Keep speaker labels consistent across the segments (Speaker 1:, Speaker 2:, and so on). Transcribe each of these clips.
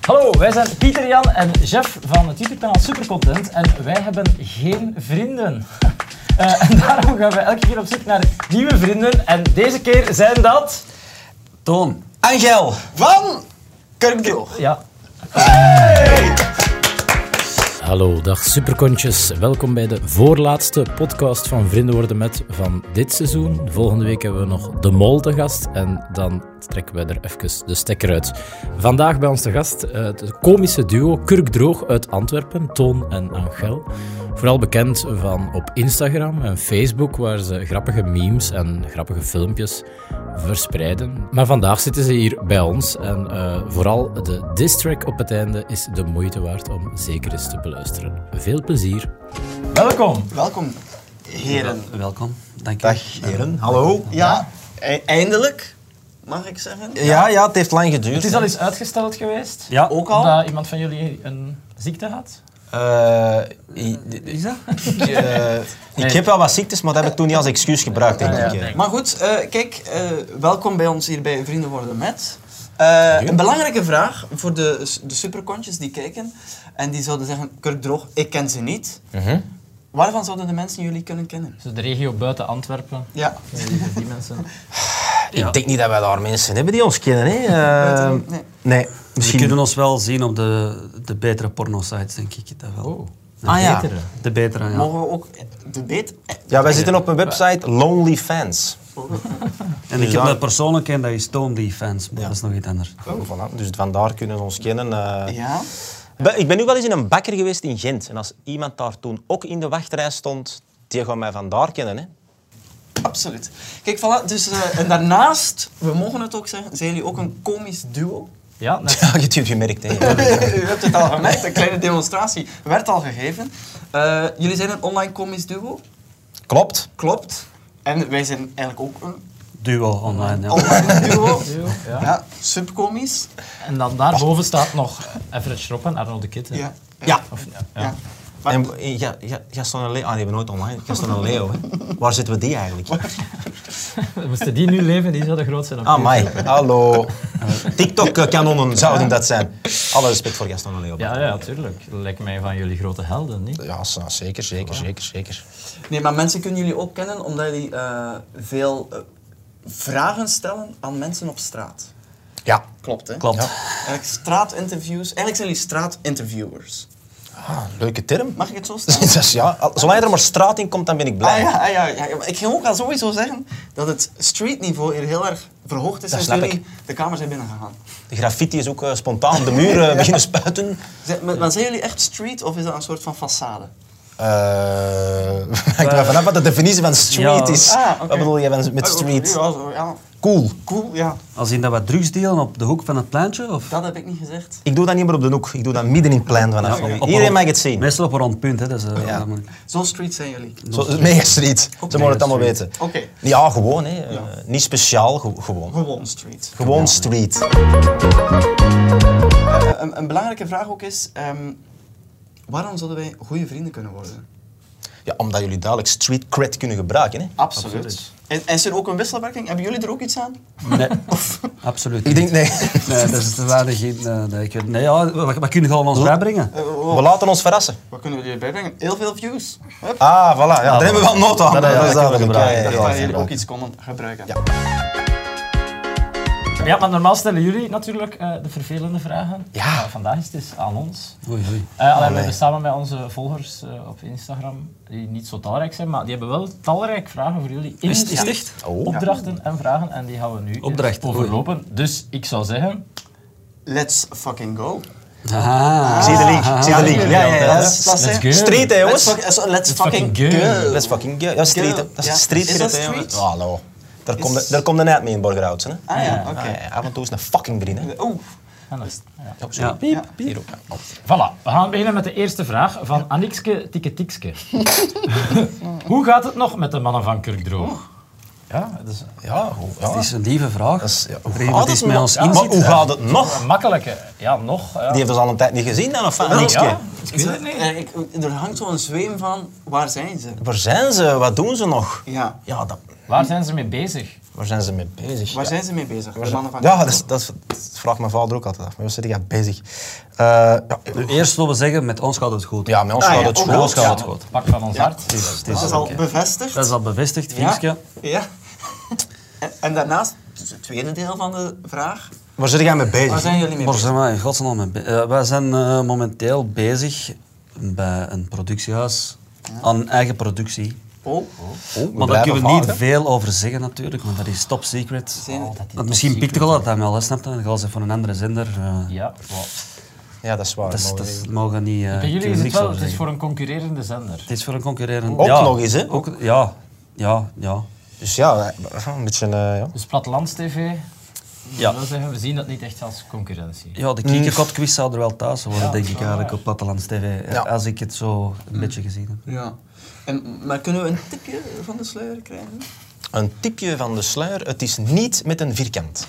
Speaker 1: Hallo, wij zijn Pieter Jan en Jeff van het YouTube-kanaal Supercontent en wij hebben geen vrienden. Eh, en daarom gaan we elke keer op zoek naar nieuwe vrienden en deze keer zijn dat...
Speaker 2: Toon.
Speaker 3: Angel van Kerkdeel.
Speaker 1: Ja,
Speaker 4: Hallo, dag superkontjes. Welkom bij de voorlaatste podcast van Vrienden Worden Met van dit seizoen. Volgende week hebben we nog De Mol te gast en dan trekken we er even de stekker uit. Vandaag bij ons te gast eh, het komische duo Kurkdroog uit Antwerpen, Toon en Angel. Vooral bekend van op Instagram en Facebook, waar ze grappige memes en grappige filmpjes verspreiden. Maar vandaag zitten ze hier bij ons en eh, vooral de distrack op het einde is de moeite waard om zeker eens te beluisteren. Veel plezier.
Speaker 1: welkom.
Speaker 3: Welkom, heren.
Speaker 2: Welkom. Dank je.
Speaker 3: Dag, heren.
Speaker 5: Hallo.
Speaker 3: Ja, e- eindelijk, mag ik zeggen.
Speaker 5: Ja, ja, het heeft lang geduurd.
Speaker 1: Het is al eens uitgesteld geweest,
Speaker 2: Ja,
Speaker 3: Ook al?
Speaker 1: omdat iemand van jullie een ziekte had.
Speaker 5: Eh, i- i-
Speaker 2: is dat?
Speaker 5: ik, eh, ik heb wel wat ziektes, maar dat heb ik toen niet als excuus gebruikt, denk
Speaker 1: Ja,
Speaker 5: ik.
Speaker 1: ja.
Speaker 5: eh.
Speaker 3: Maar goed, eh, kijk, eh, welkom bij ons hier bij Vrienden Worden Met. Eh, een belangrijke vraag voor de, de superkontjes die kijken en die zouden zeggen, Kurk Droog, ik ken ze niet. Waarvan zouden de mensen jullie kunnen kennen?
Speaker 1: Dus de regio buiten Antwerpen.
Speaker 3: Ja,
Speaker 1: Die- Die mensen.
Speaker 2: Ja.
Speaker 5: Ik denk niet dat wij daar mensen hebben die ons kennen. Hè. Eh,
Speaker 3: Nee. Nee.
Speaker 5: nee,
Speaker 2: Ze
Speaker 5: misschien
Speaker 2: kunnen ons wel zien op de, de betere porno-sites, denk ik. Dat wel.
Speaker 1: Oh,
Speaker 3: Ah, ja.
Speaker 1: betere.
Speaker 2: De betere, ja.
Speaker 3: mogen we ook de beet...
Speaker 5: Ja, wij zitten op een website LonelyFans.
Speaker 2: En ik heb
Speaker 5: daar-
Speaker 2: dat persoonlijk en dat is Toon die fans, maar dat is nog iets anders.
Speaker 5: Voilà, dus vandaar kunnen ze ons kennen. eh.
Speaker 3: Ja.
Speaker 5: Be- Ik ben nu wel eens in een bakker geweest in Gent. En als iemand daar toen ook in de wachtrij stond, die gaan mij vandaar kennen. Hè.
Speaker 3: Absoluut. Kijk, voilà. Dus, eh, en daarnaast, we mogen het ook zeggen, zijn jullie ook een komisch duo.
Speaker 1: Ja, net.
Speaker 5: Ja, je hebt het gemerkt. Hè.
Speaker 3: U hebt het al gemerkt, een kleine demonstratie werd al gegeven. Eh, jullie zijn een online komisch duo,
Speaker 5: Klopt.
Speaker 3: klopt. En wij zijn eigenlijk ook een
Speaker 2: Duo online,
Speaker 5: Oh.
Speaker 2: ja.
Speaker 3: online duo.
Speaker 1: Ja.
Speaker 3: Ja, subcomisch.
Speaker 1: En dan daarboven staat nog Everett Schrop en Arno de Kitten.
Speaker 3: Ja.
Speaker 5: Ja.
Speaker 1: Of, ja.
Speaker 3: ja. Maar-
Speaker 5: En, eh, ja, ja, Gaston en Leo. Ah, die hebben nooit online. Gaston en Leo. Hè. Waar zitten we die eigenlijk?
Speaker 1: Moesten die nu leven, die zouden groot zijn op
Speaker 5: Ah,
Speaker 1: YouTube.
Speaker 5: mij. Hallo. TikTok-kanonnen zouden dat zijn. Alle respect voor Gaston en Leo.
Speaker 1: Ja, ja, tuurlijk. Dat lijkt mij van jullie grote helden, niet?
Speaker 5: Ja, s- zeker, zeker, zeker, zeker.
Speaker 3: Nee, maar mensen kunnen jullie ook kennen omdat jullie eh, veel eh, vragen stellen aan mensen op straat.
Speaker 5: Ja.
Speaker 3: Klopt, hè?
Speaker 2: Klopt.
Speaker 3: Eigenlijk straatinterviews. Eigenlijk zijn jullie straatinterviewers.
Speaker 5: Ah, leuke term.
Speaker 3: Mag ik het zo stellen?
Speaker 5: Dat is- ja, al- zolang er maar straat in komt, dan ben ik blij.
Speaker 3: Ah, ja, ah, ja, ja, ja, maar ik ging ook al sowieso zeggen dat het streetniveau hier heel erg verhoogd is
Speaker 5: Dat
Speaker 3: sinds
Speaker 5: snap
Speaker 3: jullie de kamer zijn binnengegaan.
Speaker 5: De graffiti is ook eh, spontaan op de muur eh, beginnen spuiten.
Speaker 3: Zijn, maar, maar zijn jullie echt street of is dat een soort van façade?
Speaker 5: Eh hangt er maar vanaf wat de definitie van street
Speaker 2: Ja.
Speaker 5: is.
Speaker 3: Ah, oké.
Speaker 5: Wat bedoel je van- met
Speaker 3: Ah,
Speaker 5: street?
Speaker 3: Ja, zo, ja.
Speaker 5: Cool.
Speaker 3: Cool, ja.
Speaker 2: Als in dat we drugs delen op de hoek van het pleintje, of...
Speaker 3: Dat heb ik niet gezegd.
Speaker 5: Ik doe dat niet meer op de hoek. Ik doe dat midden in het plein vanaf
Speaker 2: Op-
Speaker 5: nu.
Speaker 2: op-
Speaker 5: Iedereen mag het zien.
Speaker 2: Meestal op een rond punt, hè. Dat is, eh,
Speaker 5: Ja.
Speaker 2: allemaal-
Speaker 3: Zo street zijn jullie.
Speaker 5: Zo, het is mega street. Ze mogen het allemaal weten.
Speaker 3: Oké.
Speaker 5: Ja, gewoon. Hè. Eh, niet speciaal, ge- gewoon.
Speaker 3: Gewoon street.
Speaker 5: Gewoon street. Ah.
Speaker 3: Eh, een, een belangrijke vraag ook is, ehm, waarom zouden wij goede vrienden kunnen worden?
Speaker 5: Ja, omdat jullie duidelijk street cred kunnen gebruiken. Hè.
Speaker 3: Absoluut. En, en is er ook een wisselwerking? Hebben jullie er ook iets aan?
Speaker 2: Nee, absoluut
Speaker 5: Ik
Speaker 2: niet.
Speaker 5: denk, nee.
Speaker 2: Nee, dat is de waarde geen... eh, nee, ik weet- nee, ja, wat, wat kunnen gewoon ons bijbrengen?
Speaker 3: Eh, wa-
Speaker 5: We laten ons verrassen.
Speaker 3: Wat kunnen jullie erbij brengen? Heel veel views. Hup.
Speaker 5: Ah, voilà. Ja, daar hebben we wel nood aan.
Speaker 2: Dat- dat-
Speaker 5: Dat is
Speaker 2: dat kunnen we
Speaker 5: duidelijk.
Speaker 2: gebruiken.
Speaker 5: Ja, ja,
Speaker 3: Dat
Speaker 5: ja.
Speaker 3: gaan jullie ook iets konden gebruiken.
Speaker 5: Ja.
Speaker 1: Ja, maar normaal stellen jullie natuurlijk eh, de vervelende vragen.
Speaker 5: Ja.
Speaker 1: Maar vandaag is het dus aan ons.
Speaker 2: Oei, oei.
Speaker 1: Eh, alleen we hebben samen met onze volgers eh, op Instagram, die niet zo talrijk zijn, maar die hebben wel talrijk vragen voor jullie.
Speaker 2: Is, is het
Speaker 1: Ja.
Speaker 2: echt?
Speaker 5: Oh.
Speaker 1: Opdrachten en vragen, en die gaan we nu eens
Speaker 2: Opdrachten, oei.
Speaker 1: overlopen. Dus ik zou zeggen,
Speaker 3: Let's fucking go.
Speaker 2: Ah.
Speaker 5: Zie je de link? Zie je de link? Ja, ja, ja.
Speaker 3: Let's-
Speaker 5: Dat is-
Speaker 3: let's
Speaker 1: go.
Speaker 5: Street, hè,
Speaker 3: Let's,
Speaker 5: jongens.
Speaker 3: fuck- let's, let's fucking
Speaker 1: fucking go.
Speaker 3: go.
Speaker 5: Let's fucking go. Ja, street. hè. Dat
Speaker 3: Ja.
Speaker 5: is street.
Speaker 3: Is dat
Speaker 5: hè, jongens.
Speaker 3: street?
Speaker 5: Ah, Hallo. Daar komt de-
Speaker 3: Is-
Speaker 5: Daar komt de net mee in Borgerhoutsen. hè.
Speaker 3: Ah ja, oké.
Speaker 5: Ah, ja, Af en toe is een fucking vriend. hè.
Speaker 3: Oeh.
Speaker 1: en dat is- ja.
Speaker 5: Ja,
Speaker 2: Ja.
Speaker 5: zo.
Speaker 2: Piep.
Speaker 5: Hier ook. Oh.
Speaker 1: Voilà, we gaan beginnen met de eerste vraag van Annikske Tikketikske. Hoe gaat het nog met de mannen van Kurkdroog? Ja, dat is
Speaker 5: Ja, hoe- ja.
Speaker 2: Het is een lieve vraag.
Speaker 5: Dat is- ja, hoe
Speaker 2: Voor iemand
Speaker 5: gaat het
Speaker 2: die eens met
Speaker 5: nog?
Speaker 2: ons
Speaker 5: Ja, maar
Speaker 2: inzit.
Speaker 5: hoe gaat het nog?
Speaker 1: een makkelijke. Ja, nog. Ja.
Speaker 5: Die heeft ons al een tijd niet gezien dan, of wat?
Speaker 1: Ja,
Speaker 5: Niks, hè?
Speaker 1: ik weet het niet.
Speaker 3: Eh, ik- Er hangt zo'n zweem van, waar zijn ze?
Speaker 5: Waar zijn ze? Wat doen ze nog?
Speaker 3: Ja.
Speaker 5: Ja, dat...
Speaker 1: Waar zijn ze mee bezig?
Speaker 5: Waar zijn ze mee bezig?
Speaker 3: Waar
Speaker 5: Ja.
Speaker 3: zijn ze mee bezig? De mannen van
Speaker 5: Ja, dat, is, dat, is, dat vraagt mijn vader ook altijd af. Maar waar zit jij bezig? Eh, ja,
Speaker 2: Eerst willen we zeggen, met ons gaat het goed.
Speaker 5: ja, met ons
Speaker 3: Ah,
Speaker 5: gaat
Speaker 3: ja,
Speaker 5: het
Speaker 3: ook
Speaker 5: goed.
Speaker 3: wel.
Speaker 2: Ons gaat het
Speaker 3: Ja.
Speaker 2: goed.
Speaker 1: Pak van ons hart.
Speaker 2: Dus,
Speaker 3: dat is al bevestigd.
Speaker 2: dat is al bevestigd,
Speaker 3: Ja.
Speaker 2: Fiepske.
Speaker 3: Ja. En, en daarnaast, dus het tweede deel van de vraag.
Speaker 5: Waar zit jij mee bezig?
Speaker 3: Waar zijn jullie mee
Speaker 2: Maar
Speaker 3: bezig?
Speaker 2: zeg maar, in godsnaam, mee be- eh, wij zijn eh, momenteel bezig bij een productiehuis aan eigen productie.
Speaker 3: Oh,
Speaker 5: Oh,
Speaker 2: Maar daar
Speaker 5: blijven
Speaker 2: kunnen we niet
Speaker 5: vaart, hè?
Speaker 2: veel over zeggen natuurlijk, want dat is top secret.
Speaker 3: Zijn- Oh, dat
Speaker 2: Want misschien pikt je al dat hij wel, hè, snapt dat? Dan gaan ze voor een andere zender. eh,
Speaker 1: Ja, wow.
Speaker 5: Ja, dat is waar.
Speaker 2: dat, is-
Speaker 5: mogen
Speaker 2: dat
Speaker 5: we
Speaker 2: is-
Speaker 5: even-
Speaker 2: mogen niet. eh,
Speaker 1: Bij jullie
Speaker 2: kunnen
Speaker 1: is het
Speaker 2: niks
Speaker 1: wel, het
Speaker 2: over
Speaker 1: is
Speaker 2: zeggen.
Speaker 1: voor een concurrerende zender.
Speaker 2: Het is voor een concurrerend.
Speaker 5: Ook
Speaker 2: ja.
Speaker 5: nog eens, hè?
Speaker 2: Ook, ja, ja, ja.
Speaker 5: Dus ja, eh, een beetje... eh, ja.
Speaker 1: Dus Plattelands TV,
Speaker 2: Ja.
Speaker 1: dat wil zeggen, we zien dat niet echt als concurrentie.
Speaker 2: Ja,
Speaker 5: Mm.
Speaker 2: de kiekerkotquiz zou er wel thuis horen,
Speaker 1: Ja,
Speaker 2: denk ik eigenlijk, op Plattelands TV.
Speaker 5: Ja.
Speaker 2: Als ik het zo een
Speaker 1: Mm.
Speaker 2: beetje gezien heb.
Speaker 3: ja. En, maar kunnen we een tipje van de sluier krijgen?
Speaker 5: Een tipje van de sluier. Het is niet met een vierkant.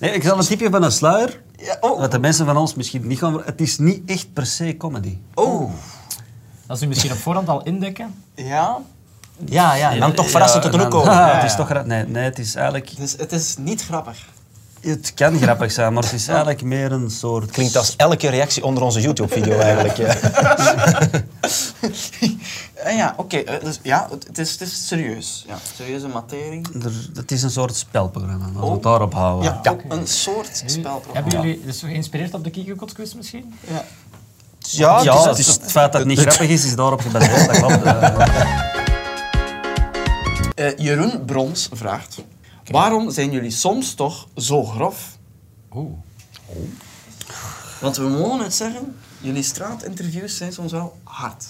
Speaker 2: Nee, ik zal een tipje van een sluier.
Speaker 3: Ja, oh.
Speaker 2: Wat de mensen van ons misschien niet gaan... Het is niet echt per se comedy.
Speaker 3: Oh,
Speaker 1: Dat ze misschien op voorhand al indekken.
Speaker 3: ja.
Speaker 2: Ja, ja.
Speaker 5: dan toch verrassend tot de hoek komen.
Speaker 2: Het is
Speaker 3: Ja, ja.
Speaker 2: toch... gra- Nee, nee, het is eigenlijk...
Speaker 3: Dus het is niet grappig.
Speaker 2: Het kan grappig zijn, maar het is eigenlijk meer een soort...
Speaker 5: Klinkt als elke reactie onder onze YouTube-video eigenlijk. ja.
Speaker 3: En ja, oké. eh, dus, ja, het, het is, het is serieus. Ja, serieuze materie.
Speaker 2: Er- het is een soort spelprogramma, als we
Speaker 3: Oh.
Speaker 2: het daarop houden.
Speaker 3: Ja,
Speaker 5: Ja.
Speaker 3: ook een soort spelprogramma.
Speaker 1: Hebben jullie dus geïnspireerd op de Kiekenkotsquiz misschien?
Speaker 3: Ja. Dus
Speaker 5: Ja,
Speaker 2: Ja,
Speaker 5: het is-
Speaker 2: het, is, het feit dat het niet grappig is, is daarop gebaseerd. Dat klopt. eh.
Speaker 3: Eh, Jeroen Brons vraagt: Waarom zijn jullie soms toch zo grof?
Speaker 1: Oeh.
Speaker 3: Want we mogen het zeggen, jullie straatinterviews zijn soms wel hard.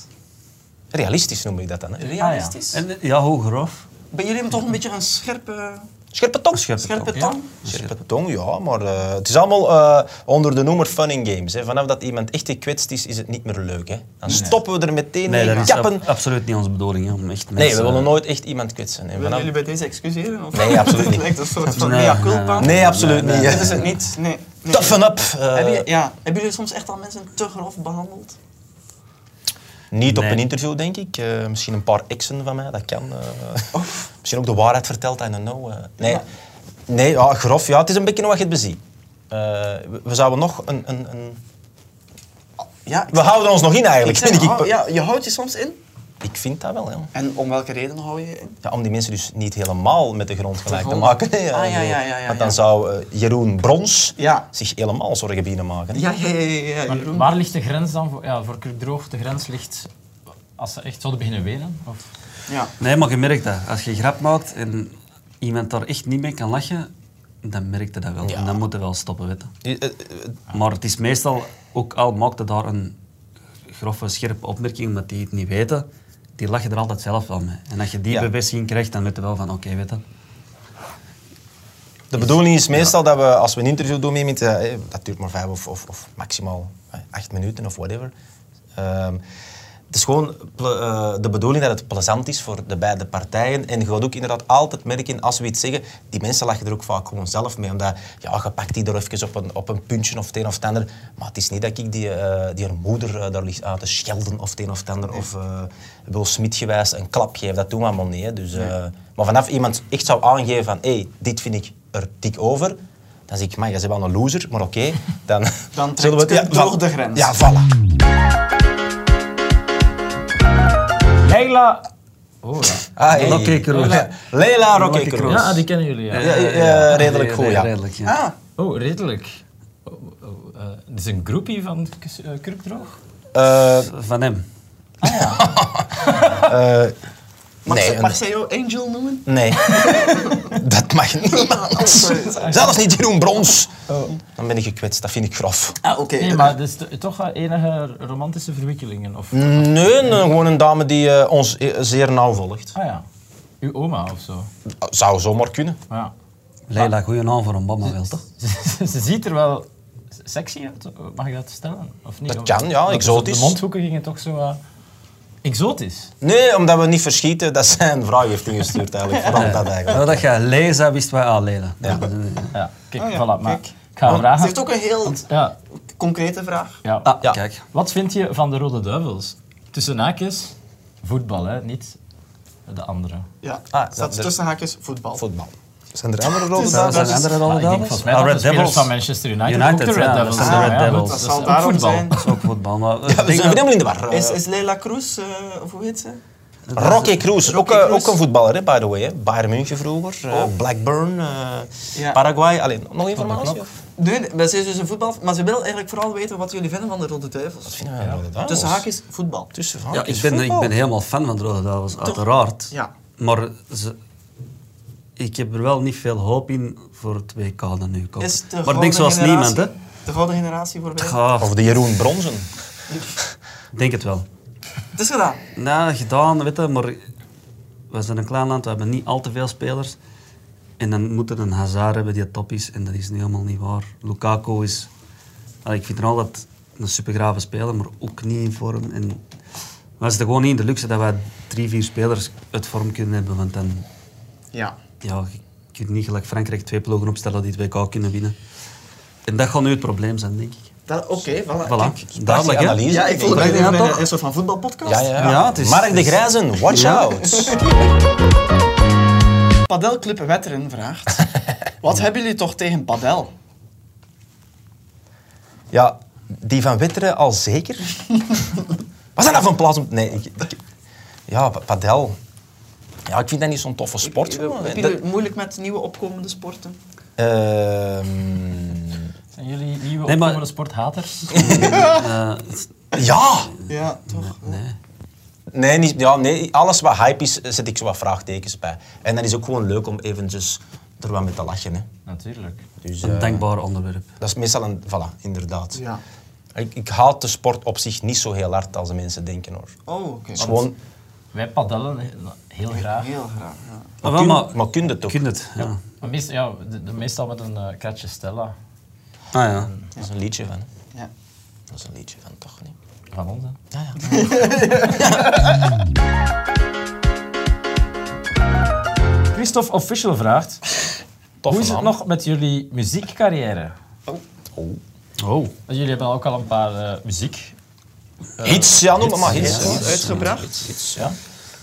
Speaker 5: Realistisch noem ik dat dan. Hè.
Speaker 3: Realistisch.
Speaker 2: en, ja, hoe grof?
Speaker 3: Maar jullie hebben toch een beetje een scherpe,
Speaker 5: Scherpe tong.
Speaker 3: scherpe
Speaker 2: tong,
Speaker 3: tong?
Speaker 5: Scherpe tong, ja, maar eh, het is allemaal eh, onder de noemer fun in games. Hè. Vanaf dat iemand echt gekwetst is, is het niet meer leuk. Hè. Dan stoppen we er meteen
Speaker 2: Nee,
Speaker 5: mee,
Speaker 2: dat is ab-
Speaker 5: kappen.
Speaker 2: absoluut niet onze bedoeling. Hè, om echt
Speaker 5: nee,
Speaker 2: mensen-
Speaker 5: we willen nooit echt iemand kwetsen. En
Speaker 3: Willen
Speaker 5: vanaf...
Speaker 3: jullie bij deze excuseren? Of
Speaker 5: Nee, absoluut
Speaker 3: Het
Speaker 5: niet.
Speaker 3: lijkt een soort van
Speaker 2: Nee,
Speaker 3: mea culpa.
Speaker 5: Nee, absoluut
Speaker 2: Nee,
Speaker 5: niet.
Speaker 3: Dit is het niet. Nee. nee.
Speaker 5: Toughen up. eh,
Speaker 3: Hebben jullie- ja. Hebben jullie soms echt al mensen te grof behandeld?
Speaker 5: Niet op
Speaker 2: Nee.
Speaker 5: een interview, denk ik. Eh, misschien een paar exen van mij, dat kan. eh. Misschien ook de waarheid verteld, I don't know. eh. nee,
Speaker 3: Ja.
Speaker 5: nee ja, grof. Ja, het is een beetje wat je het beziet. Eh, we, we zouden nog een, een, een...
Speaker 3: Ja, ik
Speaker 5: We houden ons nog in
Speaker 3: ik
Speaker 5: eigenlijk.
Speaker 3: zeg,
Speaker 5: denk ik,
Speaker 2: oh,
Speaker 3: hou- ja, je houdt je soms in.
Speaker 5: ik vind dat wel, ja.
Speaker 3: En om welke reden hou je je in?
Speaker 5: Ja, om die mensen dus niet helemaal met de grond gelijk te
Speaker 3: grond.
Speaker 5: maken. hè.
Speaker 3: Ah, ja,
Speaker 5: nee.
Speaker 3: ja, ja, ja,
Speaker 5: Want dan
Speaker 3: ja.
Speaker 5: zou eh, Jeroen Brons
Speaker 3: Ja.
Speaker 5: zich helemaal zorgen binnen maken. hè.
Speaker 3: Ja, ja, ja, ja, ja Jeroen.
Speaker 1: Waar ligt de grens dan voor, ja, voor Kurkdroog? De grens ligt als ze echt zouden beginnen wenen? Of?
Speaker 3: Ja.
Speaker 2: Nee, maar je merkt dat. Als je grap maakt en iemand daar echt niet mee kan lachen, dan merk je dat wel.
Speaker 5: Ja.
Speaker 2: En dan moet je wel stoppen, weet je.
Speaker 5: Eh, eh, eh,
Speaker 2: Maar het is meestal, ook al maakte daar een grove, scherpe opmerking, omdat die het niet weten, die lachen er altijd zelf wel mee. En als je die
Speaker 5: Ja.
Speaker 2: bewustzijn krijgt, dan weet je wel van, oké, weet je.
Speaker 5: De bedoeling is meestal dat we, als we een interview doen met iemand, eh, eh, dat duurt maar vijf of, of, of maximaal eh, acht minuten of whatever. Ehm, het is gewoon ple- eh, de bedoeling dat het plezant is voor de beide partijen. En je gaat ook inderdaad altijd merken, als we iets zeggen, die mensen lachen er ook vaak gewoon zelf mee. Omdat, ja, je pakt die er even op een, op een puntje of het een of het ander. Maar het is niet dat ik die, eh, die haar moeder eh, daar ligt uit te schelden of het een of het ander. Of eh Will Smith gewijs een klap geef. Dat doen we allemaal niet. Hè. Dus, eh, Maar vanaf iemand echt zou aangeven van, hé, hey, dit vind ik er dik over. Dan zeg ik, man, je bent wel een loser, maar oké. Dan,
Speaker 3: Dan
Speaker 5: zullen
Speaker 3: trekt
Speaker 5: het-
Speaker 3: het toch
Speaker 5: voilà.
Speaker 3: de grens.
Speaker 5: Ja, voilà.
Speaker 1: Leila... Oh ja.
Speaker 5: Ah, hey.
Speaker 2: Rocky Kroes.
Speaker 5: Leila- Leila Rocky
Speaker 2: Rocky
Speaker 5: Kroes.
Speaker 2: Kroes.
Speaker 1: Ja, die kennen jullie, ja.
Speaker 5: Ja, ja, ja, redelijk goed, ja.
Speaker 2: Redelijk, ja.
Speaker 3: Ah,
Speaker 1: Oh, redelijk. Oh, oh, eh, het is een groepie van Kus- eh, Kurkdroog?
Speaker 5: Eh,
Speaker 2: Van hem.
Speaker 3: mag,
Speaker 5: Nee,
Speaker 3: ze-
Speaker 5: een-
Speaker 3: mag zij jou Angel noemen?
Speaker 5: nee. dat mag
Speaker 3: Oh,
Speaker 5: niemand. Zelfs niet Jeroen Brons. Dan ben ik gekwetst, dat vind ik grof.
Speaker 3: Ah, oké.
Speaker 1: Nee, maar dat is to- toch wel enige romantische verwikkelingen? Of...
Speaker 5: Nee, nee, gewoon een dame die eh, ons eh, zeer nauw volgt.
Speaker 1: Ah ja, uw oma of zo.
Speaker 5: Zou zomaar kunnen.
Speaker 1: Ja.
Speaker 5: Ah.
Speaker 2: Leila, goeie naam voor een mama wel, toch?
Speaker 1: Ze, ze ziet er wel sexy uit, mag ik dat stellen? Of niet?
Speaker 5: Dat kan, ja,
Speaker 1: Want
Speaker 5: exotisch.
Speaker 1: De mondhoeken gingen toch zo... eh, exotisch?
Speaker 5: Nee, omdat we niet verschieten dat zij een vrouw heeft ingestuurd eigenlijk. Vooral dat eigenlijk.
Speaker 2: Nou, dat je Leila wist wij al Leila.
Speaker 1: Ja, kijk,
Speaker 3: Ah ja,
Speaker 1: voilà. Maar
Speaker 3: kijk.
Speaker 1: ik ga
Speaker 3: Ze
Speaker 1: vragen...
Speaker 3: heeft ook een heel
Speaker 1: Ja,
Speaker 3: concrete vraag.
Speaker 1: ja.
Speaker 2: Ah,
Speaker 5: Ja.
Speaker 2: kijk.
Speaker 1: Wat vind je van de Rode Duivels? Tussen haakjes, voetbal, hè? niet de andere.
Speaker 3: Ja,
Speaker 5: Ah,
Speaker 3: staat
Speaker 5: dat-
Speaker 3: tussen haakjes dus- voetbal.
Speaker 5: Voetbal. Zijn er andere rode
Speaker 2: Zijn- zijn
Speaker 5: duivels?
Speaker 2: er andere
Speaker 1: Ah,
Speaker 2: rode
Speaker 1: ik denk,
Speaker 2: duivels?
Speaker 1: volgens mij dat
Speaker 2: Ah,
Speaker 1: de spelers van Manchester United, ook de Red
Speaker 2: ja,
Speaker 1: Devils
Speaker 2: dat zijn
Speaker 3: Ah,
Speaker 1: zijn.
Speaker 2: de
Speaker 1: Ja,
Speaker 2: Red
Speaker 1: goed,
Speaker 2: Devils.
Speaker 1: dat is
Speaker 3: zal
Speaker 1: ook
Speaker 3: daarom
Speaker 1: voetbal.
Speaker 3: zijn.
Speaker 2: Dat is ook voetbal. Maar, eh,
Speaker 5: Ja, we
Speaker 2: denk
Speaker 5: zijn
Speaker 2: dat-
Speaker 5: helemaal in de war.
Speaker 3: Is,
Speaker 5: Eh,
Speaker 3: is Leila Cruz, eh, of hoe heet ze?
Speaker 5: Rocky Cruz, ook,
Speaker 3: Rocky
Speaker 5: eh,
Speaker 3: Cruz.
Speaker 5: ook een voetballer, hè, by the way. Hè. Bayern München vroeger, eh, Blackburn, eh,
Speaker 3: Ja.
Speaker 5: Paraguay. Alleen, nog informatie? of?
Speaker 3: Nee, nee, maar ze is dus een voetbal. Maar ze wil eigenlijk vooral weten wat jullie vinden van de Rode Duivels.
Speaker 5: Vinden we een rode duivels?
Speaker 3: Oh. Tussen haakjes, voetbal.
Speaker 5: Tussen
Speaker 2: Ja,
Speaker 5: haakjes.
Speaker 2: ik ben, ik
Speaker 5: voetbal.
Speaker 2: ben helemaal fan van de Rode Duivels, uiteraard.
Speaker 3: Ja.
Speaker 2: Maar ze, ik heb er wel niet veel hoop in voor het WK dat nu komt.
Speaker 3: Is de
Speaker 2: maar ik
Speaker 3: gouden
Speaker 2: denk zoals
Speaker 3: generatie-
Speaker 2: niemand, hè?
Speaker 3: De gouden generatie voorbij.
Speaker 2: Gaaf,
Speaker 5: Of de Jeroen Bronzen.
Speaker 2: ik denk het wel.
Speaker 3: Het is gedaan.
Speaker 2: Nou, gedaan, weet je, maar we zijn een klein land, we hebben niet al te veel spelers. En dan moeten we een Hazard hebben die top is, en dat is nu helemaal niet waar. Lukaku is, allee, ik vind hem altijd een supergrave speler, maar ook niet in vorm. En we zitten gewoon niet in de luxe dat wij drie, vier spelers uit vorm kunnen hebben, want dan,
Speaker 3: Ja.
Speaker 2: ja, je kunt niet gelijk Frankrijk twee ploegen opstellen die het WK kunnen winnen. En dat gaat nu het probleem zijn, denk ik.
Speaker 3: Dat- Oké, voilà.
Speaker 2: Voilà,
Speaker 3: Kijk.
Speaker 2: duidelijk, hè?
Speaker 5: analyse.
Speaker 3: Ja, ik voel me
Speaker 2: Brengt
Speaker 3: echt
Speaker 2: hij
Speaker 3: een,
Speaker 2: aan
Speaker 3: een,
Speaker 2: toch?
Speaker 3: een soort van voetbalpodcast.
Speaker 5: Ja, ja, ja.
Speaker 2: Ja, het is-
Speaker 5: Mark
Speaker 2: het
Speaker 5: de
Speaker 2: is-
Speaker 5: Grijzen, watch
Speaker 2: Ja.
Speaker 5: out.
Speaker 3: Padelclub Wetteren vraagt: Wat hebben jullie toch tegen padel?
Speaker 5: Ja, die van Witteren al zeker. Wat is dat nou van plaats om... Nee, ik, ik- ja, pa- padel. Ja, ik vind dat niet zo'n toffe sport. jongen.
Speaker 3: Heb
Speaker 5: Dat-
Speaker 3: jullie moeilijk met nieuwe opkomende sporten?
Speaker 5: Ehm,
Speaker 1: Zijn jullie nieuwe
Speaker 2: Nee, maar-
Speaker 1: opkomende sporthaters?
Speaker 2: Eh,
Speaker 5: ja!
Speaker 3: Ja, toch?
Speaker 2: nee.
Speaker 5: Nee, niet, ja, nee, alles wat hype is, zet ik zo wat vraagtekens bij. En dat is ook gewoon leuk om eventjes er wat mee te lachen. Hè.
Speaker 1: Natuurlijk.
Speaker 5: Dus,
Speaker 2: Een
Speaker 5: eh,
Speaker 2: dankbaar onderwerp.
Speaker 5: dat is meestal een... Voilà, inderdaad.
Speaker 3: Ja.
Speaker 5: Ik, ik haat de sport op zich niet zo heel hard als de mensen denken, hoor.
Speaker 3: Oh, oké.
Speaker 5: Het is gewoon...
Speaker 1: Wij padellen heel graag.
Speaker 3: Heel graag. Ja.
Speaker 2: Maar,
Speaker 5: kun-
Speaker 2: Ah, wel,
Speaker 5: maar kun je het ook?
Speaker 2: Kun je het, ja.
Speaker 1: Maar meest- ja, de, de- meestal met een eh, kratje Stella
Speaker 2: Ah ja.
Speaker 5: Dat is een liedje van. hè.
Speaker 3: Ja.
Speaker 5: Dat is een liedje van, toch niet?
Speaker 1: van ons. hè. Christophe Official vraagt:
Speaker 5: Tof
Speaker 1: Hoe is het nog met jullie muziekcarrière?
Speaker 2: Oh.
Speaker 1: Want Jullie hebben ook al een paar eh, muziek.
Speaker 5: Hits, ja, noem maar maar hits.
Speaker 3: Gewoon
Speaker 5: hè.
Speaker 3: uitgebracht.
Speaker 5: Hits, ja.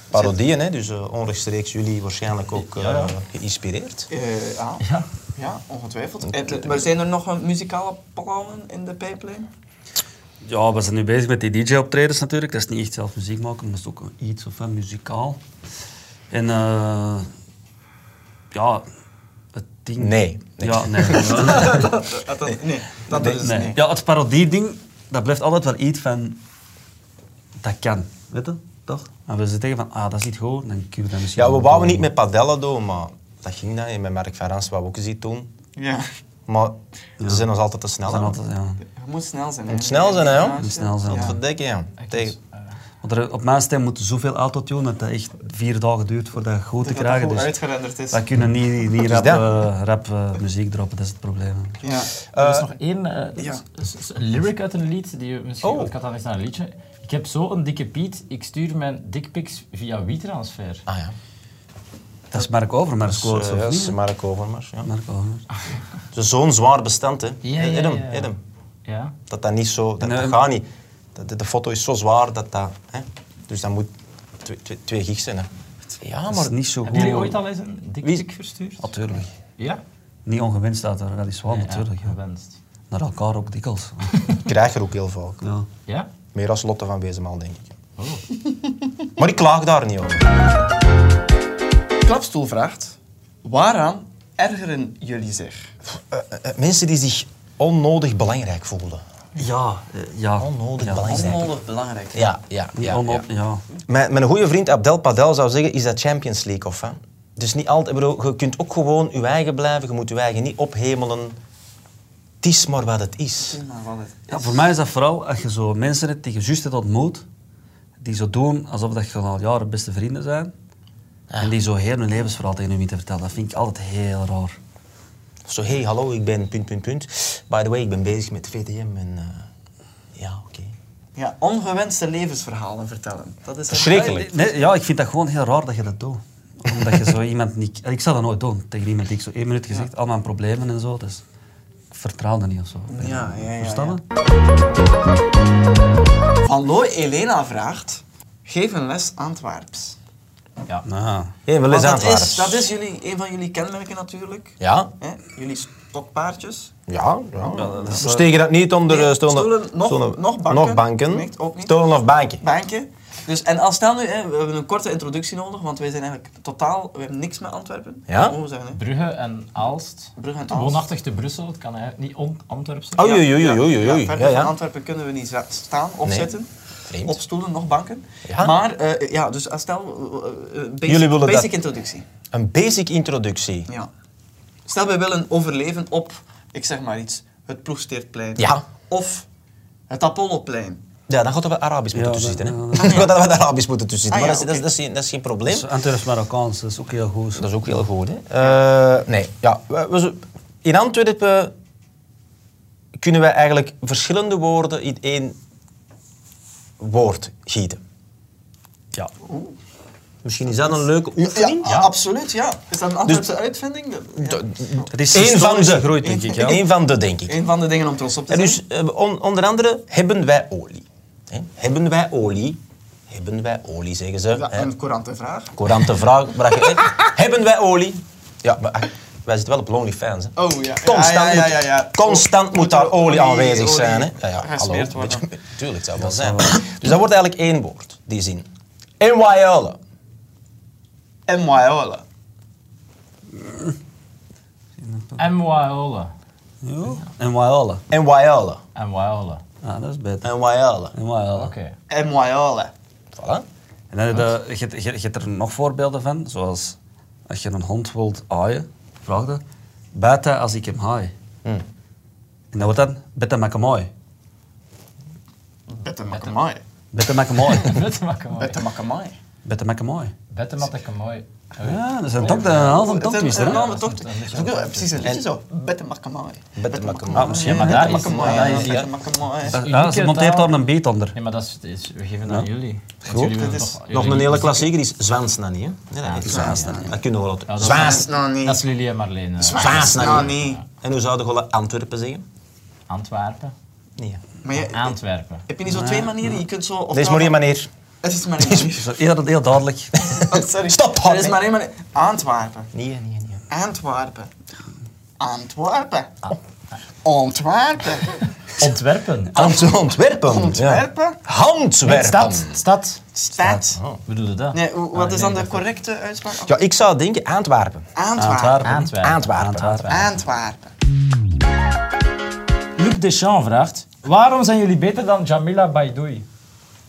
Speaker 5: Parodieën, hè, dus eh, onrechtstreeks jullie waarschijnlijk ook eh, geïnspireerd.
Speaker 3: Eh, ja. ja. ongetwijfeld. En, eh, maar zijn er nog eh, muzikale plannen in de pijplijn?
Speaker 2: Ja, we zijn nu bezig met die DJ-optredens natuurlijk. Dat is niet echt zelf muziek maken, maar dat is ook iets of een muzikaal. En eh, ja, het ding...
Speaker 5: Nee.
Speaker 2: Ja, nee.
Speaker 3: nee, nee, dat
Speaker 5: Nee,
Speaker 3: is
Speaker 2: nee.
Speaker 3: nee.
Speaker 2: Ja, het parodie-ding, dat blijft altijd wel iets van... Dat kan, weet je? Toch? En we zitten tegen van, ah, dat is niet goed, dan kunnen we dat misschien...
Speaker 5: Ja, we
Speaker 2: wel
Speaker 5: wouden
Speaker 2: doen.
Speaker 5: niet met padellen doen, maar dat ging dan. En met Mark van Rans wouden we ook eens iets doen.
Speaker 3: Ja.
Speaker 5: Maar ze zijn ons altijd te
Speaker 2: We
Speaker 5: snel.
Speaker 2: zijn
Speaker 5: hè.
Speaker 2: altijd, ja.
Speaker 3: Je moet snel zijn. hè.
Speaker 5: Moet snel zijn, hè, joh.
Speaker 3: Ja,
Speaker 2: Moet snel zijn.
Speaker 3: ja.
Speaker 5: Verdikken, ja. Tegen...
Speaker 2: Want er, op mijn stem moet zoveel autotune dat dat echt vier dagen duurt voordat je goed te
Speaker 3: Dat dat
Speaker 2: krijgen.
Speaker 3: goed
Speaker 2: Dus
Speaker 3: uitgerenderd is.
Speaker 2: Wij kunnen niet, niet rap,
Speaker 5: dat.
Speaker 2: eh, rap eh, muziek droppen, dat is het probleem.
Speaker 3: Ja.
Speaker 1: Er is nog één eh,
Speaker 3: ja.
Speaker 1: s- s- lyric uit een lied die je misschien.
Speaker 5: Oh.
Speaker 1: Ik had dan eens naar een liedje. Ik heb zo'n dikke Piet, ik stuur mijn dickpics via WeTransfer.
Speaker 5: Ah ja.
Speaker 2: Dat is Mark Overmars
Speaker 5: Dus,
Speaker 2: quotes,
Speaker 5: eh,
Speaker 2: of
Speaker 5: ja,
Speaker 2: niet?
Speaker 5: is Mark Overmars. Ja.
Speaker 2: Mark Overmars.
Speaker 1: Ah,
Speaker 5: Het is Zo'n zwaar bestand, hè.
Speaker 1: Ja, ja,
Speaker 5: Adam,
Speaker 1: ja.
Speaker 5: Adam.
Speaker 1: Ja.
Speaker 5: Dat dat niet zo... Dat,
Speaker 2: Nee.
Speaker 5: dat gaat niet. Dat- de, de foto is zo zwaar dat dat... Hè. Dus dat moet twee, twee, twee gig zijn, hè. Ja,
Speaker 2: Dat is niet zo goed.
Speaker 1: Hebben jullie ooit al eens een
Speaker 5: Wie-
Speaker 1: dikpik verstuurd?
Speaker 2: Natuurlijk.
Speaker 1: Ja?
Speaker 2: Niet ongewenst dat er wel is waar,
Speaker 1: Nee,
Speaker 2: natuurlijk.
Speaker 1: Ja,
Speaker 2: Ja.
Speaker 1: gewenst.
Speaker 2: Naar elkaar ook dikwijls.
Speaker 5: Ik krijg er ook heel vaak.
Speaker 2: ja.
Speaker 1: Ja?
Speaker 5: Meer als Lotte van Wezenmaal, denk ik. Maar ik klaag daar niet over. Eh,
Speaker 3: Klapstoel vraagt: Waaraan ergeren jullie zich?
Speaker 5: Eh, eh, eh, mensen die zich onnodig belangrijk voelden.
Speaker 2: Ja, eh, ja.
Speaker 5: Onnodig
Speaker 2: ja.
Speaker 5: belangrijk.
Speaker 3: belangrijk.
Speaker 5: Ja, ja,
Speaker 2: Niet
Speaker 5: ja. ja.
Speaker 2: onop- ja.
Speaker 5: Mijn, mijn goede vriend Abdel Padel zou zeggen, is dat Champions League of hè? Dus niet altijd, ik bedoel, je kunt ook gewoon je eigen blijven, je moet je eigen niet ophemelen. Het is maar wat het is.
Speaker 3: Maar wat het
Speaker 2: Ja, voor mij is dat vooral als je zo mensen hebt die je juist hebt ontmoet, die zo doen alsof dat je al jaren beste vrienden zijn, en die zo heel hun levensverhaal tegen je te vertellen. Dat vind ik altijd heel raar.
Speaker 5: Of zo, hey, hallo, ik ben punt, punt, punt. By the way, ik ben bezig met VTM en... eh, ja, oké.
Speaker 3: Ja, ongewenste levensverhalen vertellen. Dat is
Speaker 5: Verschrikkelijk.
Speaker 2: Nee, ja, ik vind dat gewoon heel raar dat je dat doet. Omdat je zo iemand niet... Ik zou dat nooit doen tegen iemand die ik zo één minuut gezegd, al mijn problemen en zo. Dus ik vertrouw dat niet of zo.
Speaker 3: Ja, ja, ja,
Speaker 2: Verstaan? je?
Speaker 3: Hallo Elena vraagt: Geef een les Antwerps.
Speaker 1: Ja.
Speaker 2: Nou,
Speaker 5: Hé, wel
Speaker 3: Want
Speaker 5: eens
Speaker 3: dat,
Speaker 5: aanvaarders.
Speaker 3: is, dat is jullie, een van jullie kenmerken natuurlijk.
Speaker 5: Ja,
Speaker 3: Hè? Jullie stokpaardjes.
Speaker 5: ja. ja.
Speaker 2: dat is,
Speaker 5: We steken dat niet onder
Speaker 3: Nee,
Speaker 5: eh, stoelen,
Speaker 3: stoelen, nog-
Speaker 5: stoelen-
Speaker 3: nog banken.
Speaker 5: Nog banken.
Speaker 3: Niet, ook niet.
Speaker 5: Stoelen of banken.
Speaker 3: Bankje. Dus, en als stel nu, hè, we hebben een korte introductie nodig, want wij zijn eigenlijk totaal, we hebben niks met Antwerpen.
Speaker 5: Ja.
Speaker 3: Dat mogen we zeggen, hè.
Speaker 1: Brugge en Aalst.
Speaker 3: Brugge en Aalst.
Speaker 1: Woonachtig te Brussel, het kan eigenlijk niet on-Antwerps zijn.
Speaker 5: Oei, oei, oei,
Speaker 3: Ja,
Speaker 5: oei, oei,
Speaker 3: ja,
Speaker 5: oei.
Speaker 3: verder
Speaker 5: Ja, ja.
Speaker 3: van Antwerpen kunnen we niet za- staan of
Speaker 5: Nee.
Speaker 3: zitten.
Speaker 5: Vreemd.
Speaker 3: Op stoelen, nog banken.
Speaker 5: Ja.
Speaker 3: Maar, eh, ja, dus als stel, eh, eh, basic,
Speaker 5: Jullie willen
Speaker 3: basic
Speaker 5: dat-
Speaker 3: introductie.
Speaker 5: Een basic introductie.
Speaker 3: Ja. Stel, wij willen overleven op, ik zeg maar iets, het Ploegsteertplein.
Speaker 5: Ja.
Speaker 3: Of het Apolloplein.
Speaker 5: Ja, dan gaat er wat Arabisch moeten
Speaker 2: Ja,
Speaker 5: tussen zitten.
Speaker 2: dat-
Speaker 5: hè.
Speaker 2: ja,
Speaker 5: Dan gaat er wat Arabisch moeten tussen zitten.
Speaker 3: Ah,
Speaker 5: Maar
Speaker 3: ja,
Speaker 5: dat, is, dat, is, dat is geen- dat is geen probleem.
Speaker 2: dus Antwerps-Marokkaans, dat is ook heel goed.
Speaker 5: Dat is ook heel goed. Hè? Eh, nee, ja. we- we zo- in Antwerpen kunnen we eigenlijk verschillende woorden in één woord gieten. Ja. Misschien is dat een leuke oefening.
Speaker 3: Ja, absoluut, ja. Is dat een Antwerpse uitvinding? Ja.
Speaker 5: Dus D- d-
Speaker 2: Het is
Speaker 5: Eén van
Speaker 2: historisch
Speaker 5: de,
Speaker 2: gegroeid, denk ik. Ja.
Speaker 5: Eén van de, denk ik.
Speaker 3: Een van de dingen om trots op te
Speaker 5: En
Speaker 3: zijn.
Speaker 5: dus eh, on- onder andere hebben wij olie. Hè? Hebben wij olie? Hebben wij olie, zeggen ze.
Speaker 3: ja,
Speaker 5: hè.
Speaker 3: een courante vraag.
Speaker 5: Courante vraag. maar dat je- hè, hebben wij olie? Ja, maar ach, wij zitten wel op OnlyFans. Hè.
Speaker 3: Oh ja.
Speaker 5: Constant,
Speaker 3: ja, ja, ja,
Speaker 5: moet-
Speaker 3: ja.
Speaker 5: constant
Speaker 3: Moet
Speaker 5: moet daar
Speaker 3: er
Speaker 5: olie,
Speaker 3: olie-
Speaker 5: aanwezig
Speaker 3: olie
Speaker 5: zijn. Hè? Ja, ja, hallo.
Speaker 3: gesmeerd worden.
Speaker 5: Beetje- Tuurlijk zou dat zijn. Dus dat wordt eigenlijk één woord, die zin. En waiola.
Speaker 3: En Waiola.
Speaker 1: En Waiola.
Speaker 2: Jo. En Waiola.
Speaker 5: En waiola.
Speaker 1: En Waiola.
Speaker 2: Ja, dat is beter.
Speaker 5: En waiola.
Speaker 2: En Waiola.
Speaker 1: Oké.
Speaker 3: En Waiola.
Speaker 5: E. Voilà.
Speaker 2: En dan heb je, je, hebt- je, je hebt er nog voorbeelden van, zoals als je een hond wilt aaien, vraag dat, beta als ik hem haai.
Speaker 1: Hm.
Speaker 2: En dat wordt dan, beta maak hem mooi.
Speaker 3: Bette Makamai.
Speaker 2: Beta maak hem mooi.
Speaker 1: Bette makken mooi.
Speaker 3: Bette Makamai.
Speaker 2: beta maak hem mooi.
Speaker 1: Bette makken mooi.
Speaker 2: Ja, dat is een tokte, een halve toktwist, hè?
Speaker 3: Ja,
Speaker 2: Ja,
Speaker 3: Oh, dat toch. Dat is ook wel precies een liedje zo. Bette Makamai.
Speaker 5: Better maken.
Speaker 2: Ah, misschien, maar
Speaker 1: daar
Speaker 3: Bette
Speaker 1: is-
Speaker 3: Makamai.
Speaker 5: ja, ja, ja.
Speaker 3: Bette Makamai.
Speaker 2: ja, ze monteert daar een beet onder.
Speaker 1: Nee, maar dat is, dat is- we geven aan jullie. Want
Speaker 5: Goed.
Speaker 1: jullie
Speaker 3: Dat
Speaker 1: willen
Speaker 3: is
Speaker 1: toch-
Speaker 5: Ah, Nog
Speaker 1: jullie-
Speaker 5: een hele klassieker is Zwansnani. hè? Nee, dat is Zwansnani. Dat kunnen we wel.
Speaker 1: dat-
Speaker 5: Zwaans.
Speaker 3: Nou, nee.
Speaker 1: Dat is Lili en Marleen. eh,
Speaker 3: Nou,
Speaker 5: Zwansnani.
Speaker 3: nee.
Speaker 5: En hoe zouden we wel Antwerpen zeggen?
Speaker 1: Antwerpen.
Speaker 5: Nee.
Speaker 3: Maar je,
Speaker 1: Antwerpen.
Speaker 3: heb je niet zo twee manieren? Je kunt zo... of nou
Speaker 5: Er is maar één manier.
Speaker 3: Het is maar één manier.
Speaker 2: Zo, heel, heel duidelijk.
Speaker 3: Oh, Sorry.
Speaker 5: Stop,
Speaker 3: Er is
Speaker 5: nee.
Speaker 3: maar één manier. Antwerpen.
Speaker 5: Nee, nee, nee.
Speaker 3: Antwerpen. Antwerpen. Antwerpen.
Speaker 1: Ontwerpen.
Speaker 5: Ant- Antwerpen.
Speaker 3: Antwerpen.
Speaker 5: Ja. Antwerpen.
Speaker 1: Stad. Stad.
Speaker 3: Stad.
Speaker 1: Bedoelde dat?
Speaker 3: Nee, hoe- wat
Speaker 1: Ah,
Speaker 3: is
Speaker 1: nee,
Speaker 3: dan de
Speaker 1: dat-
Speaker 3: correcte uitspraak?
Speaker 5: Ja, ik zou denken Antwerpen.
Speaker 3: Antwerpen.
Speaker 2: Antwerpen.
Speaker 1: Antwerpen.
Speaker 5: Antwerpen.
Speaker 3: Antwerpen.
Speaker 1: Luc Deschamps vraagt: Waarom zijn jullie beter dan Jamila Baidoui?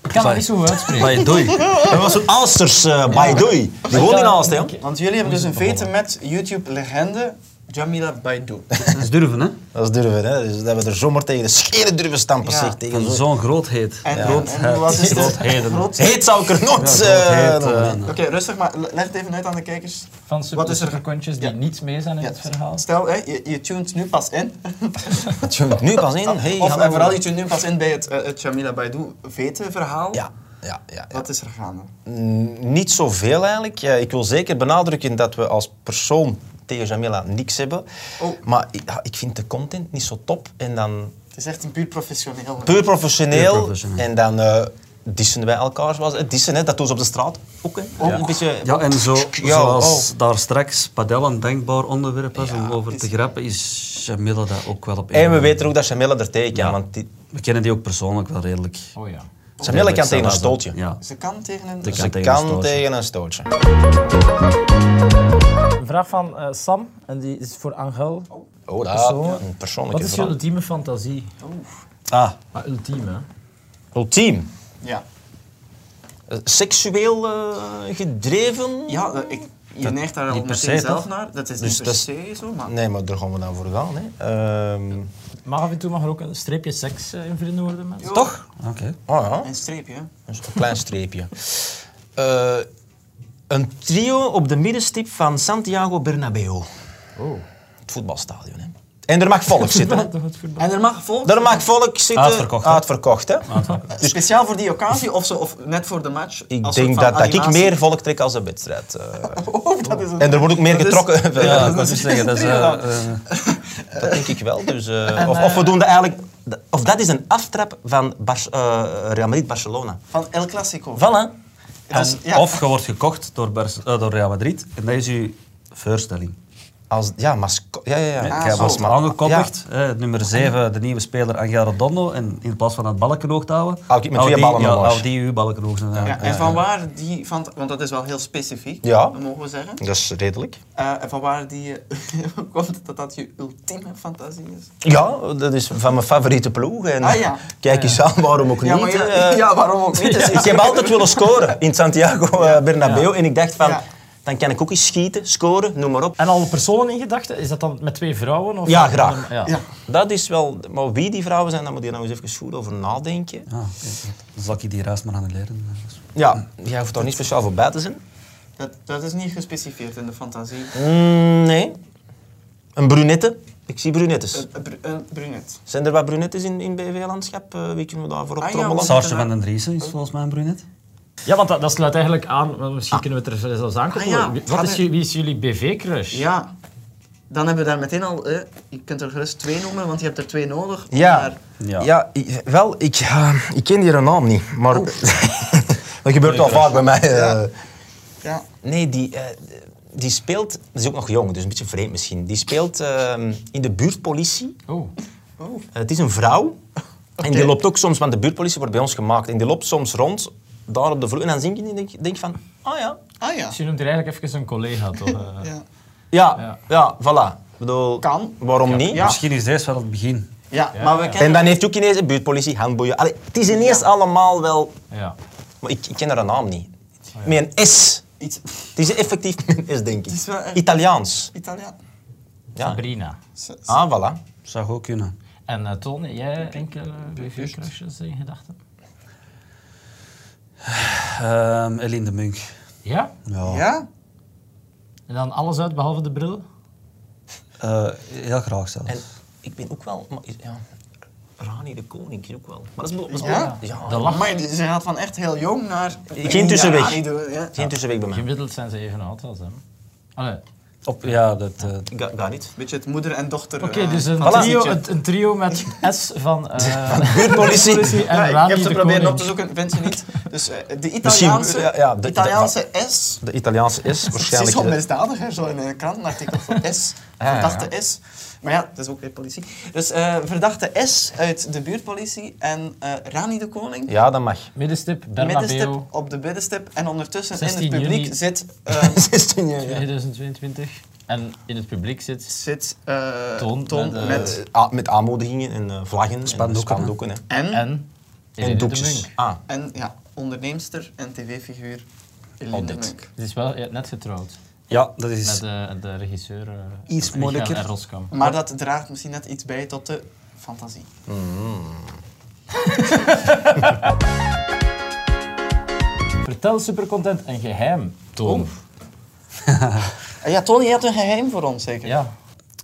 Speaker 1: Ik kan dat niet zo goed uitspreken.
Speaker 2: Maar je doei.
Speaker 5: Dat was een Alsters uh, Baidoui. Die woont in Aalst, hè?
Speaker 3: Want jullie hebben dus een vete met YouTube-legende Jamila Baidoe.
Speaker 2: Dat is durven, hè?
Speaker 5: Dat is durven, hè? Dus dat we er zomaar tegen de scheren durven stampen.
Speaker 3: Ja.
Speaker 5: Zeg, tegen
Speaker 2: Van
Speaker 5: zo.
Speaker 2: zo'n grootheid.
Speaker 3: En, en, en wat is de
Speaker 2: Grootheden.
Speaker 3: groot-
Speaker 5: Heet zou ik er nooit. eh,
Speaker 2: Grootheid,
Speaker 5: nog
Speaker 2: eh,
Speaker 5: niet.
Speaker 3: Oké, rustig, maar le- leg het even uit aan de kijkers.
Speaker 1: Van
Speaker 3: Wat is er-
Speaker 1: superkontjes die
Speaker 3: Ja.
Speaker 1: niets mee zijn in
Speaker 3: Ja,
Speaker 1: het verhaal.
Speaker 3: Stel, hè, je, je tunt nu pas in.
Speaker 5: nu pas in. Hey,
Speaker 3: of en
Speaker 5: hallo.
Speaker 3: vooral je tunt nu pas in bij het, eh, het Jamila Baidoe vete-verhaal.
Speaker 5: Ja, ja, ja. ja.
Speaker 3: Wat is er gaande?
Speaker 5: Mm, Niet zoveel eigenlijk. Eh, Ik wil zeker benadrukken dat we als persoon tegen Jamila niks hebben.
Speaker 3: Oh.
Speaker 5: Maar ik, ja, ik vind de content niet zo top. En dan
Speaker 3: Het is echt een puur professioneel.
Speaker 5: puur professioneel.
Speaker 2: Puur professioneel.
Speaker 5: En dan eh dissen wij elkaar zoals... eh, Dissen, hè, dat doen ze op de straat ook. Hè. Een beetje...
Speaker 2: eh, Ja, oh. en zo,
Speaker 5: Ja,
Speaker 2: zoals daar straks padel een denkbaar onderwerp was om over te
Speaker 3: is-
Speaker 2: grappen, is Jamila dat ook wel op
Speaker 5: En we
Speaker 2: een-
Speaker 5: weten ook dat Jamila er tegen kan.
Speaker 2: Ja.
Speaker 5: Want die,
Speaker 2: We kennen die ook persoonlijk wel redelijk.
Speaker 1: Oh ja.
Speaker 5: Jamila kan tegen een
Speaker 2: Staan daar
Speaker 5: stoeltje.
Speaker 2: zo. Ja.
Speaker 3: Ze kan tegen een...
Speaker 2: Ze
Speaker 5: Ze
Speaker 2: tegen een
Speaker 5: kan
Speaker 2: stoeltje.
Speaker 5: tegen een stootje.
Speaker 1: Een vraag van eh, Sam, en die is voor Angel.
Speaker 5: Oh, dat
Speaker 1: Persoonlijk.
Speaker 5: een persoonlijke
Speaker 1: Wat is je
Speaker 5: vraag.
Speaker 1: ultieme fantasie?
Speaker 5: Ah,
Speaker 1: Maar ultieme, hè?
Speaker 5: ultiem.
Speaker 3: Ja.
Speaker 5: Eh, Seksueel eh, gedreven?
Speaker 3: Ja, dat- ik, je neigt daar al
Speaker 2: niet per
Speaker 3: meteen
Speaker 2: se,
Speaker 3: zelf
Speaker 2: toch?
Speaker 3: naar. Dat is
Speaker 5: Dus
Speaker 3: niet per
Speaker 5: dat is-
Speaker 3: se zo, maar...
Speaker 5: Nee, maar daar gaan we dan voor gaan. Hè. Ehm,
Speaker 1: Maar af en toe mag er ook een streepje seks eh, in vrienden worden, mensen.
Speaker 5: Toch?
Speaker 2: Oké.
Speaker 5: Oh ja.
Speaker 3: Een streepje. hè.
Speaker 5: Dus een klein streepje. Eh, een trio op de middenstip van Santiago Bernabeu. Het voetbalstadion, hè. En er mag volk zitten. hè.
Speaker 1: Toch het voetbal?
Speaker 3: En er mag volgens...
Speaker 5: Er mag volk zitten.
Speaker 2: Uitverkocht, hè?
Speaker 5: Uitverkocht, hè.
Speaker 3: Speciaal voor die occasie of, zo, of net voor de match?
Speaker 5: dus- Ik
Speaker 3: als
Speaker 5: denk
Speaker 3: soort van
Speaker 5: dat, dat ik
Speaker 3: animatie?
Speaker 5: meer volk trek als de wedstrijd. eh.
Speaker 3: Oh, dat is een-
Speaker 5: en er wordt ook meer
Speaker 3: dat is-
Speaker 5: getrokken.
Speaker 2: Ja,
Speaker 5: Ja,
Speaker 2: ik wou
Speaker 3: dat
Speaker 2: het
Speaker 3: is
Speaker 2: zeggen. Dat is,
Speaker 3: een
Speaker 2: eh,
Speaker 5: dat denk ik wel. Dus, eh, of, of we doen dat eigenlijk... Of dat is een aftrap van Bar- eh, Real Madrid-Barcelona.
Speaker 3: Van El Clasico.
Speaker 5: Voilà.
Speaker 3: Dat is-
Speaker 2: En
Speaker 3: ja.
Speaker 2: Of je wordt gekocht door, Bars- eh, door Real Madrid en dat is je voorstelling.
Speaker 5: Als, ja, masco- ja, ja, ja.
Speaker 2: Hè,
Speaker 3: Ah,
Speaker 2: Jij
Speaker 3: zo.
Speaker 2: was
Speaker 5: ma-
Speaker 2: aangekondigd, hè, nummer 7, de nieuwe speler Angel Redondo. En in plaats van het balkenhoog te houden,
Speaker 5: Hou ik met twee
Speaker 2: die,
Speaker 5: ballen
Speaker 2: ja,
Speaker 5: omhoog.
Speaker 2: hou die uw balkenhoog. zijn.
Speaker 3: Ja, en van waar die, van, want dat is wel heel specifiek,
Speaker 5: Ja.
Speaker 3: mogen we zeggen.
Speaker 5: Dat is redelijk.
Speaker 3: Eh, en van waar die eh, komt dat dat je ultieme fantasie is?
Speaker 5: Ja, dat is van mijn favoriete ploeg. En eh,
Speaker 3: Ah, ja.
Speaker 5: Kijk eens aan, waarom ook
Speaker 3: Ja,
Speaker 5: niet.
Speaker 3: maar ja,
Speaker 5: eh.
Speaker 3: ja, waarom ook niet? Dat is
Speaker 5: Ik heb altijd willen scoren in Santiago eh, Bernabeu. En ik dacht van,
Speaker 3: Ja.
Speaker 5: dan kan ik ook eens schieten, scoren, noem maar op.
Speaker 1: En al personen in gedachten, is dat dan met twee vrouwen? Of
Speaker 5: Ja, graag.
Speaker 1: Ja.
Speaker 3: Ja.
Speaker 5: Dat is wel... Maar wie die vrouwen zijn, daar moet je nou eens even goed over nadenken.
Speaker 2: Ah, oké, oké. Dan zal ik die raast maar aan leren. Eh, Dat is-
Speaker 5: Ja, jij hoeft daar niet speciaal voor bij te zijn.
Speaker 3: Dat, dat is niet gespecificeerd in de fantasie.
Speaker 5: Mm, nee. Een brunette. Ik zie brunettes.
Speaker 3: Een- Een Eh, br- een brunet.
Speaker 5: Zijn er wat brunettes in, in BV-landschap? Eh, wie kunnen we daarvoor
Speaker 3: Ah, ja,
Speaker 5: optrommelen?
Speaker 3: want-
Speaker 2: Saartje van den Driessen is volgens mij een brunet.
Speaker 1: Ja, want dat, dat sluit eigenlijk aan, wel, misschien kunnen we het er zelfs aan koppelen.
Speaker 3: Ah, ja.
Speaker 1: Wie- Wat is, ju- wie is jullie BV-crush?
Speaker 3: Ja, dan hebben we daar meteen al. eh, je kunt er gerust twee noemen, want je hebt er twee nodig.
Speaker 5: Ja,
Speaker 3: Maar
Speaker 2: Ja.
Speaker 5: ja. i- wel, ik, ja, ik ken die haar naam niet, maar dat gebeurt wel vaak bij mij. eh.
Speaker 3: ja,
Speaker 5: Nee, die, eh, die speelt, dat is ook nog jong, dus een beetje vreemd misschien. Die speelt ehm, in de buurtpolitie.
Speaker 1: Oh.
Speaker 5: Eh, het is een vrouw en die loopt ook soms, want de buurtpolitie wordt bij ons gemaakt, en die loopt soms rond daar op de vloer en dan zie ik die en denk, denk van, ah ja,
Speaker 3: ah ja.
Speaker 1: Dus je noemt er eigenlijk even een collega, toch? Eh,
Speaker 3: ja.
Speaker 5: ja,
Speaker 1: Ja.
Speaker 5: ja, voilà. Ik bedoel,
Speaker 3: Kan.
Speaker 5: Waarom niet?
Speaker 3: Ja.
Speaker 2: Misschien is deze wel het begin.
Speaker 3: Ja, maar we
Speaker 5: En
Speaker 3: kennen.
Speaker 5: dan heeft ook ineens een buurtpolitie handboeien. Allee, het is ineens allemaal wel
Speaker 1: ja.
Speaker 5: Maar ik, ik ken haar naam niet. Met een S.
Speaker 3: Iets.
Speaker 5: Het is effectief met een S, denk ik.
Speaker 3: is wel echt-
Speaker 5: Italiaans.
Speaker 3: Italiaan.
Speaker 5: Ja.
Speaker 1: Sabrina.
Speaker 3: S- s-
Speaker 5: Ah, voilà.
Speaker 2: Zou ook kunnen.
Speaker 1: En eh, Tony, jij enkele BV-crushes in gedachten?
Speaker 2: Ehm Eline de Munk.
Speaker 1: Ja?
Speaker 3: Ja?
Speaker 1: En dan alles uit, behalve de bril?
Speaker 2: Eh, heel graag zelfs.
Speaker 5: En ik ben ook wel... Maar, ja, Rani de Koning is ook wel. Maar dat is, dat is
Speaker 3: Ja?
Speaker 5: ja.
Speaker 1: De lach.
Speaker 3: Maar ze gaat van echt heel jong naar.
Speaker 5: Geen tussenweg.
Speaker 3: Ja, niet doen, ja.
Speaker 5: Geen tussenweg bij mij.
Speaker 1: Gemiddeld zijn ze even oud als hem. Allee.
Speaker 2: Op, ja, dat, eh,
Speaker 5: Ga, ga niet.
Speaker 3: Beetje het moeder en dochter.
Speaker 1: Oké,
Speaker 3: eh,
Speaker 1: dus een
Speaker 5: voilà.
Speaker 1: trio,
Speaker 3: fantasietje.
Speaker 1: een, een trio met S van... eh
Speaker 5: Buurtpolitie.
Speaker 1: politie en
Speaker 3: Ja, ik
Speaker 1: Rani
Speaker 3: heb ze
Speaker 1: de
Speaker 3: proberen
Speaker 1: koning.
Speaker 3: op te zoeken, vind ze niet. Dus eh, de
Speaker 5: Misschien,
Speaker 3: Italiaanse,
Speaker 5: ja, ja, de-
Speaker 3: Italiaanse S.
Speaker 5: De Italiaanse S,
Speaker 3: Ze is
Speaker 5: waarschijnlijk.
Speaker 3: wel
Speaker 5: de-
Speaker 3: misdadiger, zo in een krantenartikel voor S.
Speaker 5: Ah, ja, ja.
Speaker 3: Verdachte S. Maar ja, dat is ook weer politie. Dus eh, verdachte S uit de buurtpolitie en eh, Rani de Koning.
Speaker 5: Ja, dat mag.
Speaker 1: Middenstip,
Speaker 3: Middenstip
Speaker 1: Bernabeu,
Speaker 3: op de middenstip en ondertussen in
Speaker 1: 16
Speaker 3: het publiek
Speaker 1: juni.
Speaker 3: zit, eh,
Speaker 5: 16 jaar, ja.
Speaker 1: 2022. En in het publiek zit...
Speaker 3: zit eh,
Speaker 1: Toon
Speaker 3: Toon,
Speaker 1: met, eh,
Speaker 3: met,
Speaker 5: Eh, a- met aanmoedigingen en eh, vlaggen.
Speaker 2: Spandoeken,
Speaker 5: En spandoeken, hè.
Speaker 1: eh,
Speaker 3: en, en,
Speaker 1: En... Eline
Speaker 5: En
Speaker 1: de
Speaker 5: doekjes.
Speaker 1: Munk.
Speaker 5: Ah,
Speaker 3: ja, onderneemster en tv-figuur Eline
Speaker 5: Al
Speaker 3: de
Speaker 5: dit.
Speaker 3: Munk.
Speaker 1: Ze is wel ja, net getrouwd.
Speaker 2: ja, dat
Speaker 1: Met
Speaker 2: is...
Speaker 1: de, de regisseur... eh,
Speaker 2: Iets
Speaker 1: Michael
Speaker 2: moeilijker.
Speaker 1: R. Roskam.
Speaker 3: Maar dat draagt misschien net iets bij tot de fantasie.
Speaker 1: Vertel supercontent een geheim,
Speaker 5: Oh.
Speaker 1: Toon.
Speaker 3: Eh, ja, Tony, je hebt een geheim voor ons zeker?
Speaker 1: Ja.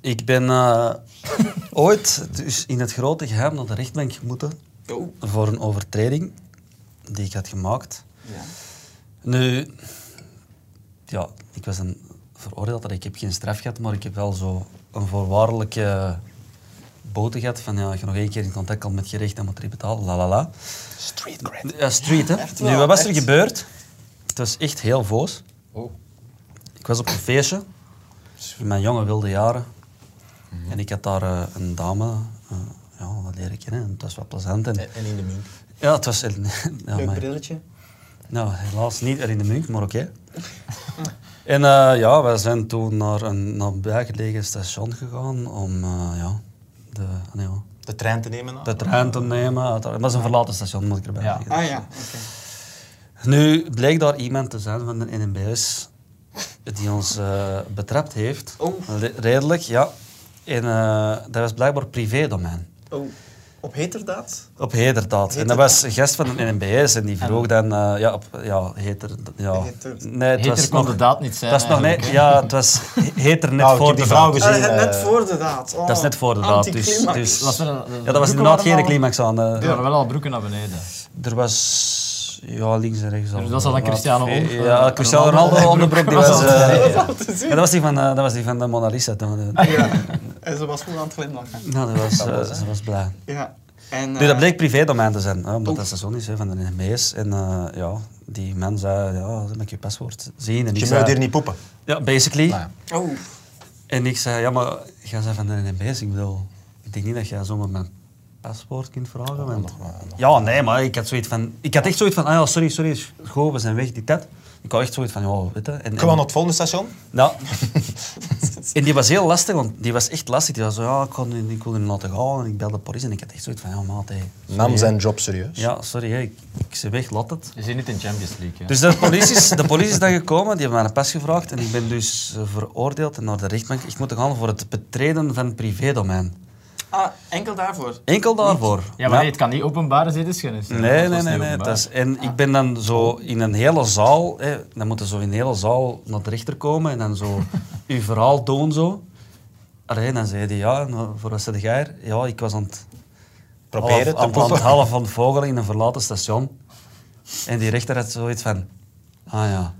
Speaker 2: Ik ben eh, ooit dus in het grote geheim naar de rechtbank moeten
Speaker 3: Oh.
Speaker 2: voor een overtreding die ik had gemaakt.
Speaker 3: Ja.
Speaker 2: Nu, ja, ik was een veroordeeld. Ik heb geen straf gehad, maar ik heb wel zo een voorwaardelijke boete gehad van ja, als je nog één keer in contact komt met het gerecht, dan moet je die betalen, la la la.
Speaker 5: street cred.
Speaker 2: Ja, street, hè.
Speaker 3: Echt wel,
Speaker 2: nu, wat was er
Speaker 3: echt.
Speaker 2: gebeurd? Het was echt heel voos. Ik was op een feestje, in mijn jonge wilde jaren. En ik had daar eh, een dame, eh, ja, dat leren kennen. En het was wel plezant. En,
Speaker 5: En in de munt.
Speaker 2: ja, het was... ja,
Speaker 3: Leuk
Speaker 2: maar-
Speaker 3: brilletje.
Speaker 2: nou, helaas niet er in de Munk, maar oké. En eh, ja, wij zijn toen naar een nabijgelegen station gegaan om eh, ja, de, nee, hoor,
Speaker 5: De trein te nemen. nou.
Speaker 2: de trein te nemen. uiteraard. Het was een verlaten station, moet ik erbij
Speaker 1: Ja.
Speaker 2: zeggen.
Speaker 3: Ah ja, oké.
Speaker 2: Nu bleek daar iemand te zijn van de NMBS die ons eh, betrapt heeft.
Speaker 3: Oh.
Speaker 2: Le- Redelijk, ja. En eh, dat was blijkbaar privédomein.
Speaker 3: Oh, op heterdaad?
Speaker 2: Op heterdaad. En dat was een gast van een NMBS en die vroeg dan... eh, ja, op, ja, heter... Ja.
Speaker 3: Ah. Heter.
Speaker 2: Nee, het
Speaker 1: Heter
Speaker 2: was
Speaker 1: kon
Speaker 2: nog-
Speaker 1: de daad niet zijn,
Speaker 2: Het was nog
Speaker 1: eigenlijk,
Speaker 2: net, ja, het was he- heter net
Speaker 5: Nou, ik
Speaker 2: voor
Speaker 5: heb
Speaker 2: de
Speaker 5: die vrouw
Speaker 2: daad.
Speaker 5: gezien.
Speaker 3: Ah, net
Speaker 5: eh,
Speaker 3: voor de daad. Oh,
Speaker 2: Dat is net voor de daad. Dus,
Speaker 3: anticlimax.
Speaker 2: dus,
Speaker 1: Was er een- de- de
Speaker 2: ja, dat was
Speaker 1: broeken
Speaker 2: inderdaad
Speaker 1: waren
Speaker 2: geen
Speaker 1: al-
Speaker 2: climax aan. eh.
Speaker 1: Er waren wel al broeken naar beneden.
Speaker 2: Er was... Ja, links en rechts. al.
Speaker 1: Dus dat zal dan
Speaker 2: Wat-
Speaker 1: Cristiano om-
Speaker 2: Ja,
Speaker 1: eh,
Speaker 2: Cristiano
Speaker 1: Ronaldo
Speaker 2: Ronaldo onderbroek. Die was...
Speaker 1: Ja,
Speaker 2: eh,
Speaker 3: Dat was te zien.
Speaker 2: ja, dat was die van, eh, dat was die van de Mona Lisa. toen.
Speaker 3: Ja. En ze was goed aan het glimlachen.
Speaker 2: Nou, dat was, eh, ze was blij.
Speaker 3: Ja. En,
Speaker 2: Nu, dat
Speaker 3: eh,
Speaker 2: bleek privédomein te zijn, hè, omdat
Speaker 3: Oef.
Speaker 2: dat seizoen is hè, van de NME's. En eh, ja, die man zei, ja, dat moet je paswoord zien. En ik
Speaker 5: Je
Speaker 2: zei,
Speaker 5: moet hier niet poepen.
Speaker 2: Ja, basically.
Speaker 5: Nou ja.
Speaker 3: Oh,
Speaker 2: En ik zei, ja, maar jij bent van de NMB's. Ik bedoel, ik denk niet dat jij zomaar mijn paspoort kunt vragen. want- ja, nee, Oh, maar ik had zoiets van, ik had echt zoiets van, ah ja, sorry, sorry, is goed, we zijn weg, dit, dat. Ik had echt zoiets van, ja, weet je. En,
Speaker 5: Gaan we
Speaker 2: en-
Speaker 5: naar het volgende station?
Speaker 2: ja. en die was heel lastig, want die was echt lastig. Die was zo, ja, ik, kon, niet- ik wilde niet laten gaan en ik belde de politie en ik had echt zoiets van, ja, maat, hey,
Speaker 5: Nam zijn job serieus.
Speaker 2: ja, sorry, hè, ik, ik ze weg, laat het.
Speaker 1: Je zit niet in Champions League. Hè?
Speaker 2: Dus de politie, is, de politie is dan gekomen, die hebben mij een pas gevraagd en ik ben dus eh, veroordeeld en naar de rechtbank. Ik moet gaan voor het betreden van privédomein.
Speaker 3: ah, enkel daarvoor.
Speaker 2: Enkel daarvoor.
Speaker 1: ja, maar nee, het kan niet openbare zittenschennis. zijn. dus, eh,
Speaker 2: Nee,
Speaker 1: Dat
Speaker 2: nee,
Speaker 1: was
Speaker 2: nee.
Speaker 1: niet
Speaker 2: nee.
Speaker 1: openbaar.
Speaker 2: Dat is, en ik ben dan zo in een hele zaal, hè, dan moeten zo in een hele zaal naar de rechter komen en dan zo uw verhaal doen zo. Allee, dan zei hij, ja, en wa- voor wat zit jij er? Ja, ik was aan het
Speaker 5: Probeer het.
Speaker 2: half,
Speaker 5: te
Speaker 2: aan het
Speaker 5: poepen.
Speaker 2: halen van vogel in een verlaten station. En die rechter had zoiets van, ah ja.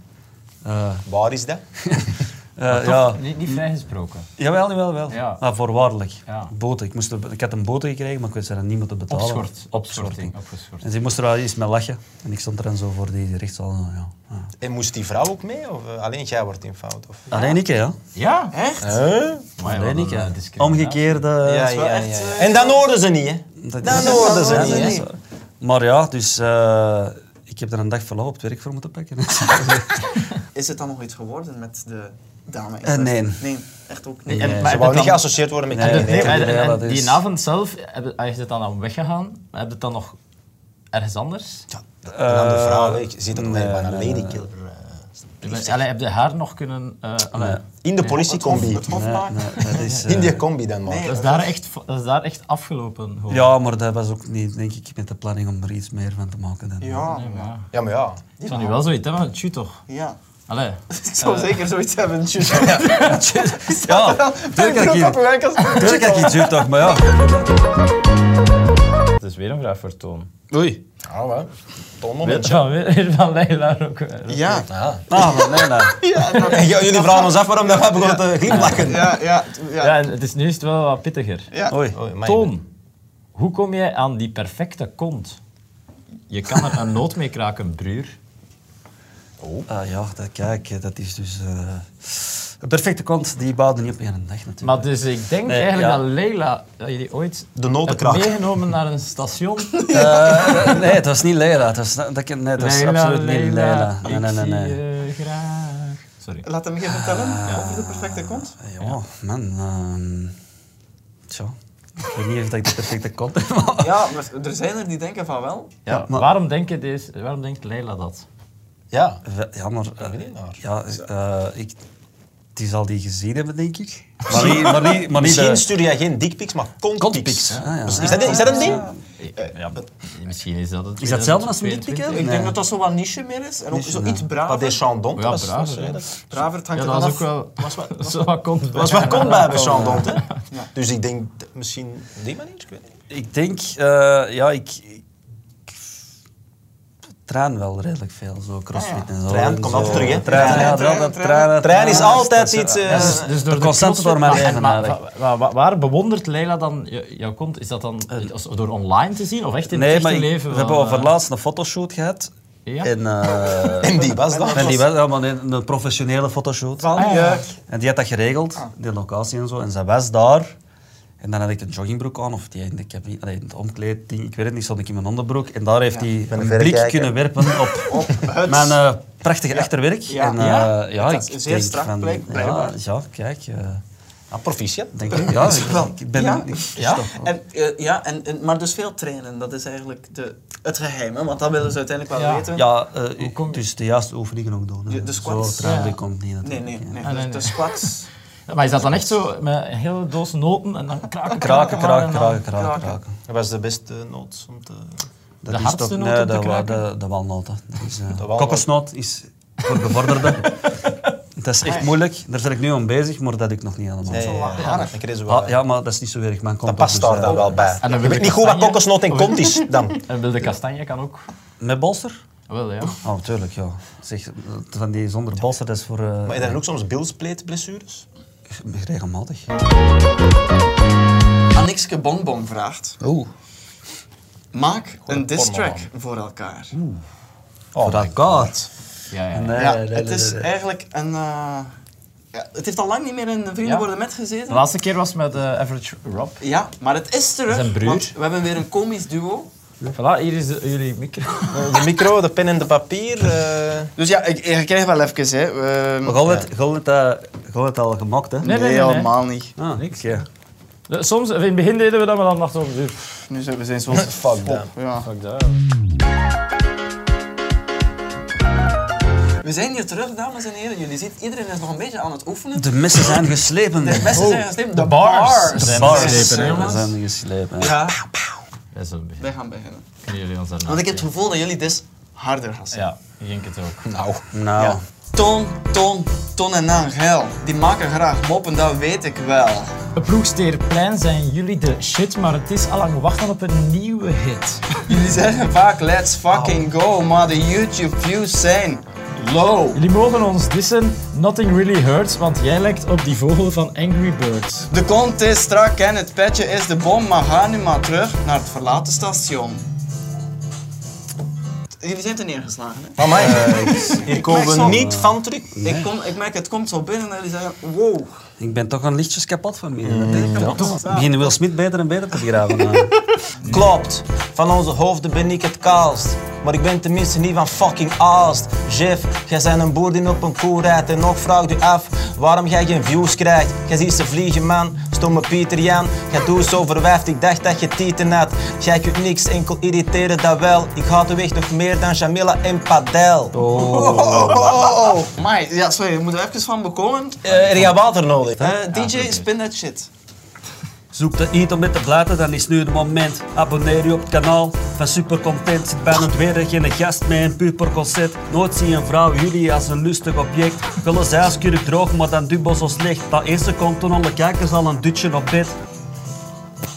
Speaker 2: Eh,
Speaker 5: Waar is dat?
Speaker 2: eh,
Speaker 1: Toch
Speaker 2: ja.
Speaker 1: Niet, niet vrijgesproken.
Speaker 2: Jawel, jawel, wel.
Speaker 1: Ja.
Speaker 2: Maar voorwaardelijk.
Speaker 1: Ja.
Speaker 2: Boete. Ik, moest er- ik had een boete gekregen, maar ik wist er aan niemand te betalen.
Speaker 1: Opschort. Opschorting. Opgeschort.
Speaker 2: En ze moest er wel iets mee lachen. En ik stond er dan zo voor die rechtszaal. en zo, Ja. Ja.
Speaker 5: En moest die vrouw ook mee? Of eh, alleen jij wordt in fout? Of?
Speaker 2: Alleen ik, hè, ja.
Speaker 1: Ja,
Speaker 3: Echt?
Speaker 5: Huh?
Speaker 1: maar
Speaker 2: Alleen ik,
Speaker 1: wat een,
Speaker 2: hè.
Speaker 1: eh, discriminatie.
Speaker 2: Omgekeerde...
Speaker 5: Ja,
Speaker 3: wel
Speaker 5: ja,
Speaker 3: echt,
Speaker 5: ja.
Speaker 3: eh,
Speaker 5: En dan hoorden ze niet, hè?
Speaker 2: Dat,
Speaker 5: Dan
Speaker 2: dat-
Speaker 5: hoorden
Speaker 2: dat-
Speaker 5: ze
Speaker 2: dat-
Speaker 5: niet,
Speaker 2: dat-
Speaker 5: hè.
Speaker 2: dat- Maar ja, dus... eh, ik heb er een dag verlof op het werk voor moeten pakken.
Speaker 3: Is het dan nog iets geworden met de dame?
Speaker 2: Eh, nee.
Speaker 3: Nee, echt ook niet.
Speaker 1: Nee,
Speaker 3: En-
Speaker 1: en-
Speaker 5: Ze
Speaker 1: maar-
Speaker 5: wou niet
Speaker 1: dan-
Speaker 5: geassocieerd worden met
Speaker 2: Nee,
Speaker 5: criminelen.
Speaker 2: nee,
Speaker 1: Maar
Speaker 2: nee,
Speaker 1: en- en
Speaker 2: dat is-
Speaker 1: die avond zelf, heb, ah, is het dan aan weggegaan? Heb je het dan nog ergens anders?
Speaker 5: Ja, dat- Een andere
Speaker 2: Eh,
Speaker 5: vrouw, hè. ik zie dat
Speaker 2: nee,
Speaker 5: alleen maar een
Speaker 2: nee,
Speaker 5: ladykiller. eh,
Speaker 1: Allee, heb je haar nog kunnen... eh, allee,
Speaker 2: Nee.
Speaker 5: In de
Speaker 3: Het
Speaker 5: politiecombi.
Speaker 3: hof- het hof
Speaker 2: Nee,
Speaker 3: maken.
Speaker 2: nee, dat is, eh,
Speaker 5: In die combi dan, maar.
Speaker 3: Nee.
Speaker 1: dat, is daar echt, vo- dat is daar echt afgelopen. hoor.
Speaker 2: Ja, maar dat was ook niet, denk ik, met de planning om er iets meer van te maken. Dan.
Speaker 3: Ja,
Speaker 5: Ja, maar ja.
Speaker 1: Het is nu wel zoiets hebben, het shoot toch?
Speaker 3: ja.
Speaker 1: Allee.
Speaker 3: Ik
Speaker 2: Eh.
Speaker 3: zou zeker zoiets hebben. Tjus.
Speaker 2: Ja,
Speaker 3: Vijf
Speaker 2: tuurlijk
Speaker 3: brood op uw
Speaker 2: heb
Speaker 3: enkels.
Speaker 2: ik iets toch, maar ja.
Speaker 1: Het is weer een vraag voor Toon.
Speaker 2: Oei.
Speaker 5: Ja, wel. Toon
Speaker 1: Weer
Speaker 5: momentje.
Speaker 1: van, weer van Leila ook. weer.
Speaker 3: Ja,
Speaker 5: Ja.
Speaker 2: Ah, maar nee, nee.
Speaker 5: En j- jullie vragen ons af waarom dat we begonnen te glimlachen.
Speaker 3: ja, ja. ja.
Speaker 1: Ja, en het is, nu is het wel wat pittiger.
Speaker 3: ja.
Speaker 2: Oei.
Speaker 5: Oei, amai.
Speaker 1: Toon, hoe kom jij aan die perfecte kont? Je kan er een noot mee kraken, bruur.
Speaker 2: Ah, ja, dat, kijk, eh, dat is dus... eh, een perfecte kont, die bouwde niet op één dag natuurlijk.
Speaker 1: Maar dus ik denk
Speaker 2: Nee,
Speaker 1: eigenlijk
Speaker 2: ja.
Speaker 1: dat Leila, dat je die ooit
Speaker 5: De noten
Speaker 1: hebt
Speaker 5: kraken.
Speaker 1: meegenomen naar een station.
Speaker 2: Eh, nee, het was niet Leila. Het was, dat, ken- nee, het was
Speaker 1: Leila,
Speaker 2: absoluut niet Leila.
Speaker 1: Leila,
Speaker 2: Nee, nee, nee.
Speaker 1: ik
Speaker 2: nee.
Speaker 1: zie je graag. Sorry.
Speaker 3: Laat hem even vertellen over de perfecte kont.
Speaker 2: Eh, Ja, man. ehm, tja. Ik weet niet of dat ik de perfecte kont heb, maar...
Speaker 3: Ja, maar er zijn er die denken van wel.
Speaker 1: Ja,
Speaker 2: maar-
Speaker 1: waarom, denken deze, waarom denkt Leila dat?
Speaker 5: Ja.
Speaker 2: Wel, Ja, maar... eh,
Speaker 5: weet niet, maar-
Speaker 2: ja, eh, ik... Die zal die gezien hebben, denk ik. Maar niet, maar niet, maar niet de-
Speaker 5: Misschien stuur jij geen dickpics, maar
Speaker 2: Contpics,
Speaker 5: contpics.
Speaker 2: hè, ja.
Speaker 5: Is, dat, is dat een ding?
Speaker 2: Eh,
Speaker 1: Ja, misschien is dat het.
Speaker 2: Is dat hetzelfde als een dikpik?
Speaker 1: Ja,
Speaker 3: Ik
Speaker 2: Nee.
Speaker 3: denk dat dat zo wat niche meer is. En ook zo iets
Speaker 5: Dat
Speaker 3: braver.
Speaker 5: is Chandon.
Speaker 1: Ja,
Speaker 5: dat was-
Speaker 1: braaf,
Speaker 5: was-
Speaker 1: hè.
Speaker 5: dat-
Speaker 3: Braver, het hangt
Speaker 1: dat
Speaker 3: ervan
Speaker 1: was ook
Speaker 3: af.
Speaker 1: wel. Dat is wel wat kont bij.
Speaker 5: Dat was wat komt bij bij Chandon, hè? Dus ik denk d- misschien op die manier, ik weet niet.
Speaker 2: Ik denk, eh, ja, ik, ik train wel redelijk veel, zo crossfit
Speaker 3: Ah, ja.
Speaker 2: en zo.
Speaker 5: Trainen
Speaker 2: En
Speaker 5: komt
Speaker 2: zo.
Speaker 5: altijd terug, hè?
Speaker 2: Trainen,
Speaker 3: Trainen,
Speaker 2: ja,
Speaker 3: trainen,
Speaker 2: dat-
Speaker 3: trainen.
Speaker 2: trainen,
Speaker 5: Trein is
Speaker 2: trainen.
Speaker 5: altijd iets... eh,
Speaker 1: Dus, dus door
Speaker 2: De constante
Speaker 1: knotsel-
Speaker 2: door mijn
Speaker 1: maar-
Speaker 2: leven
Speaker 1: maar-
Speaker 2: eigenlijk.
Speaker 1: wa- wa- waar bewondert Leila dan je- jouw kont? Is dat dan als- door online te zien of echt in
Speaker 2: Nee,
Speaker 1: het
Speaker 2: maar
Speaker 1: echte
Speaker 2: ik-
Speaker 1: leven?
Speaker 2: we
Speaker 1: van,
Speaker 2: hebben over
Speaker 1: eh,
Speaker 2: laatst een fotoshoot gehad.
Speaker 1: Ja?
Speaker 2: En, eh,
Speaker 5: en die was dat.
Speaker 2: en die was helemaal een, een professionele fotoshoot.
Speaker 1: Ah, ja.
Speaker 3: Ja.
Speaker 2: En die had dat geregeld,
Speaker 3: Ah.
Speaker 2: die locatie en zo. En zij was daar. En dan had ik een joggingbroek aan, of die in de cabine, allee, in het omkleedding, ik weet het niet, stond ik in mijn onderbroek. En daar heeft hij
Speaker 5: ben
Speaker 2: een
Speaker 5: een
Speaker 2: blik
Speaker 5: verrekijker.
Speaker 2: kunnen werpen op,
Speaker 3: Op het...
Speaker 2: Mijn eh, prachtige achterwerk.
Speaker 3: Ja.
Speaker 2: En, eh,
Speaker 1: Ja?
Speaker 2: ja.
Speaker 3: Het
Speaker 2: ik
Speaker 3: was zeer
Speaker 2: denk
Speaker 3: strak,
Speaker 2: van,
Speaker 3: blijk-
Speaker 2: ja,
Speaker 3: blijkbaar.
Speaker 2: ja, kijk. eh,
Speaker 5: Ah, proficiat.
Speaker 2: denk ik, ja, ik, ik ben...
Speaker 3: Ja.
Speaker 2: ik-
Speaker 1: Ja?
Speaker 3: En, eh, ja, en, en- maar dus veel trainen, dat is eigenlijk de, het geheim, hè, want dat willen ze uiteindelijk wel
Speaker 1: Ja.
Speaker 3: weten.
Speaker 2: ja, eh,
Speaker 1: Hoe kom je-
Speaker 2: dus de juiste oefeningen ook doen. hè.
Speaker 3: De- de squats.
Speaker 2: Zo traag
Speaker 1: Ja.
Speaker 2: komt niet
Speaker 3: Nee,
Speaker 2: natuurlijk.
Speaker 3: nee, nee.
Speaker 1: Ah, nee,
Speaker 3: Dus
Speaker 1: nee.
Speaker 3: De squats,
Speaker 1: Maar is dat dan echt zo met een hele doos noten en dan kraken, kraken,
Speaker 2: Kraken,
Speaker 1: maar
Speaker 2: kraken,
Speaker 1: en dan-
Speaker 2: kraken, kraken,
Speaker 3: kraken.
Speaker 2: kraken.
Speaker 5: Dat was de beste noot om te...
Speaker 2: Dat
Speaker 1: De
Speaker 2: is
Speaker 1: hardste
Speaker 2: toch-
Speaker 1: noot om
Speaker 2: Nee,
Speaker 1: te
Speaker 2: dat wa-
Speaker 1: kraken?
Speaker 2: de, de walnoten. Dat is, eh,
Speaker 5: walnoot.
Speaker 2: Kokosnoot is voor bevorderden. dat is echt moeilijk. Daar ben ik nu aan bezig, maar dat ik nog niet helemaal.
Speaker 5: Nee, ja, ja. Dan kreeg ze wel-
Speaker 2: Eh, Ah, ja, maar dat is niet zo erg. Mijn
Speaker 5: Dat
Speaker 2: dus, komt
Speaker 5: past daar dan wel bij.
Speaker 1: dan wil
Speaker 5: Ik
Speaker 1: ik
Speaker 5: weet niet goed wat
Speaker 1: kastanje.
Speaker 5: kokosnoot en kont is dan.
Speaker 1: En wilde kastanje kan ook.
Speaker 2: Met bolster?
Speaker 1: Wel, ja.
Speaker 2: Oh, natuurlijk, ja. Zeg, van die zonder bolster, dat is voor... eh,
Speaker 5: Maar je hebt ook soms bilspleetblessures?
Speaker 2: Regelmatig. Oh
Speaker 3: Annixke Bonbon vraagt.
Speaker 2: Oeh.
Speaker 3: Maak een diss
Speaker 5: porno
Speaker 3: track voor elkaar.
Speaker 5: Oh
Speaker 2: Voor
Speaker 5: my
Speaker 2: elkaar.
Speaker 5: God.
Speaker 1: Ja, ja.
Speaker 2: Nee,
Speaker 3: ja,
Speaker 2: nee, nee,
Speaker 3: het is
Speaker 2: nee.
Speaker 3: eigenlijk een... eh, ja, het heeft al lang niet meer in Vrienden
Speaker 1: Ja.
Speaker 3: Worden Met
Speaker 1: De
Speaker 3: gezeten.
Speaker 1: laatste keer was met eh, Average Rob.
Speaker 3: Ja, maar het is terug.
Speaker 1: Zijn broer.
Speaker 3: Want we hebben weer een komisch duo.
Speaker 1: Voilà, hier is de- jullie micro.
Speaker 5: De micro, de pen en de papier. eh,
Speaker 3: Dus ja, ik, ik krijg wel even, hè. Ehm,
Speaker 2: Maar Gol het, Gol het, eh, Gol het al gemaakt, hè?
Speaker 1: Nee,
Speaker 3: nee,
Speaker 1: nee, nee, nee.
Speaker 3: helemaal niet.
Speaker 2: Ah,
Speaker 1: Niks.
Speaker 2: oké.
Speaker 1: Eh, Soms, in het begin deden we dat, maar dan dachten we, pff,
Speaker 3: Nu zijn we zijn zo'n
Speaker 5: Fuck
Speaker 3: pop.
Speaker 5: that.
Speaker 3: Ja.
Speaker 1: fuck dat.
Speaker 3: We zijn hier terug, dames en heren. Jullie zien, iedereen is nog een beetje aan het oefenen.
Speaker 2: De messen zijn geslepen.
Speaker 3: De messen zijn geslepen. De,
Speaker 1: Oh, de bars.
Speaker 3: bars.
Speaker 1: De
Speaker 2: De
Speaker 1: bars.
Speaker 2: bars
Speaker 1: geslepen, hè,
Speaker 2: zijn
Speaker 3: jongens.
Speaker 2: geslepen. hè.
Speaker 3: Ja,
Speaker 1: Wij zullen beginnen.
Speaker 3: wij gaan beginnen.
Speaker 1: Kunnen jullie ons daarna
Speaker 3: Want ik heb het
Speaker 1: geven?
Speaker 3: gevoel dat jullie dit harder gaan zijn.
Speaker 1: Ja, ik denk het ook.
Speaker 5: Nou,
Speaker 2: Nou,
Speaker 3: Ja. Ton, Ton, Ton en Angel. Die maken graag moppen, dat weet ik wel.
Speaker 1: Op Ploegsteerplein zijn jullie de shit, maar het is allang wachten op een nieuwe hit.
Speaker 3: Jullie zeggen vaak let's fucking go, maar de YouTube views zijn low.
Speaker 1: Jullie mogen ons dissen, nothing really hurts, want jij lijkt op die vogel van Angry Birds.
Speaker 3: De kont is strak en het petje is de bom, maar ga nu maar terug naar het verlaten station. Jullie zijn er neergeslagen, hè?
Speaker 5: amai.
Speaker 3: Eh,
Speaker 5: hier komen
Speaker 3: merk
Speaker 5: we
Speaker 3: zo-
Speaker 5: niet van terug.
Speaker 3: Ik, kom, ik merk, het komt zo binnen en jullie zeggen, wow.
Speaker 2: ik ben toch een lichtjes kapot van mij.
Speaker 3: Mm,
Speaker 2: Dat denk ik wel.
Speaker 3: Toch?
Speaker 2: Ik begin Will Smith beter en beter te begraven. maar-
Speaker 5: Klopt, van onze hoofden ben ik het kaalst. Maar ik ben tenminste niet van fucking aast. Jeff, jij zijn een boer die op een koe rijdt. En nog vraagt u af waarom jij geen views krijgt. Jij ziet ze vliegen, man. Stomme Pieter Jan. Jij doet zo verwijfd, ik dacht dat je tieten had. Jij kunt niks enkel irriteren, dat wel. Ik haat de weg nog meer dan Jamila en Padel.
Speaker 3: Oh, Amai, ja, sorry, ik moet er even van bekomen.
Speaker 5: Eh, er gaat water nodig.
Speaker 3: Eh, DJ, spin that shit.
Speaker 2: Zoek de iets om met te blaten, dan is nu het moment. Abonneer je op het kanaal van Super Content. Zit bijna het weer geen gast met een puber concert. Nooit zie een vrouw jullie als een lustig object. Gulle zij als kurk droog, maar dan dubbel zo slecht. Dat eerste komt toen alle kijkers al een dutje op bed.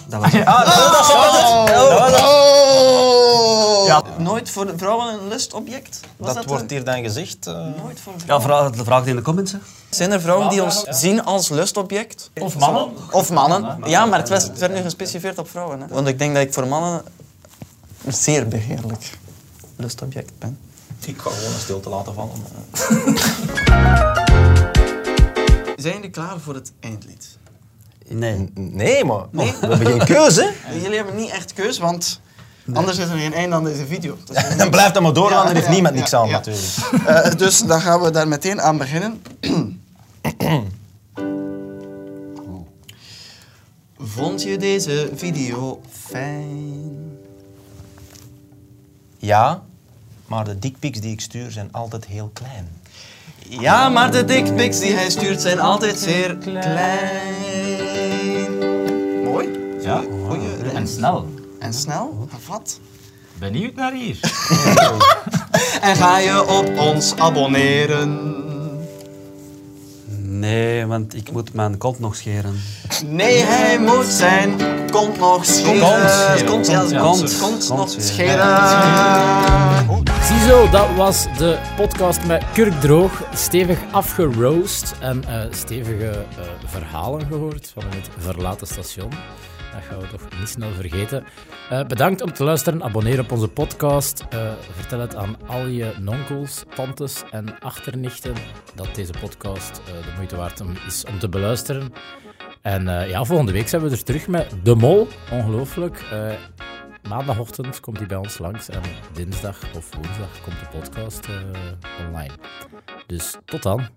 Speaker 2: Dat was het.
Speaker 3: Ja. Nooit voor de vrouwen een lustobject? Was
Speaker 5: Dat
Speaker 3: Oh. dat
Speaker 5: wordt
Speaker 3: een-
Speaker 5: hier dan gezegd. eh.
Speaker 3: Nooit voor
Speaker 2: Ja, vraag, vraag het in de comments. Hè.
Speaker 3: Zijn er vrouwen die ons zien als lustobject?
Speaker 1: Of mannen?
Speaker 3: Of mannen? Ja, maar het, was, het werd nu gespecificeerd op vrouwen. Hè? Want ik denk dat ik voor mannen een zeer begeerlijk lustobject ben.
Speaker 5: Ik ga gewoon een stilte laten vallen.
Speaker 3: Zijn jullie klaar voor het eindlied?
Speaker 2: Nee.
Speaker 5: Nee, maar
Speaker 3: Nee?
Speaker 5: we hebben geen keuze.
Speaker 3: Jullie hebben niet echt keus, want anders is er geen einde aan deze video. Dus,
Speaker 5: Dan blijft dat maar door, want er heeft
Speaker 3: ja,
Speaker 5: niemand
Speaker 3: ja,
Speaker 5: niks aan
Speaker 3: ja.
Speaker 5: natuurlijk.
Speaker 3: eh, dus dan gaan we daar meteen aan beginnen. Vond je deze video fijn?
Speaker 5: Ja, maar de dickpics die ik stuur zijn altijd heel klein.
Speaker 3: Ja, maar de dickpics die hij stuurt zijn altijd zeer klein. Mooi.
Speaker 1: Ja.
Speaker 3: Goeie
Speaker 1: En
Speaker 3: lijn.
Speaker 1: snel.
Speaker 3: En snel, gevat.
Speaker 1: Benieuwd naar hier.
Speaker 3: En ga je op ons abonneren?
Speaker 2: Nee, want ik moet mijn kont nog scheren.
Speaker 3: Nee, hij moet zijn kont nog scheren.
Speaker 1: Kont.
Speaker 3: Kont, ja, kont,
Speaker 2: Kont.
Speaker 3: kont,
Speaker 2: Kont,
Speaker 3: nog
Speaker 2: ja.
Speaker 3: scheren.
Speaker 4: Ziezo, dat was de podcast met Kurk Droog. Stevig afgeroost en eh, stevige eh, verhalen gehoord van het verlaten station. Dat gaan we toch niet snel vergeten. Eh, bedankt om te luisteren. Abonneer op onze podcast. Eh, vertel het aan al je nonkels, tantes en achternichten dat deze podcast eh, de moeite waard om- is om te beluisteren. En eh, ja, volgende week zijn we er terug met De Mol. Ongelooflijk. Eh, Maandagochtend komt hij bij ons langs en dinsdag of woensdag komt de podcast eh, online. Dus tot dan.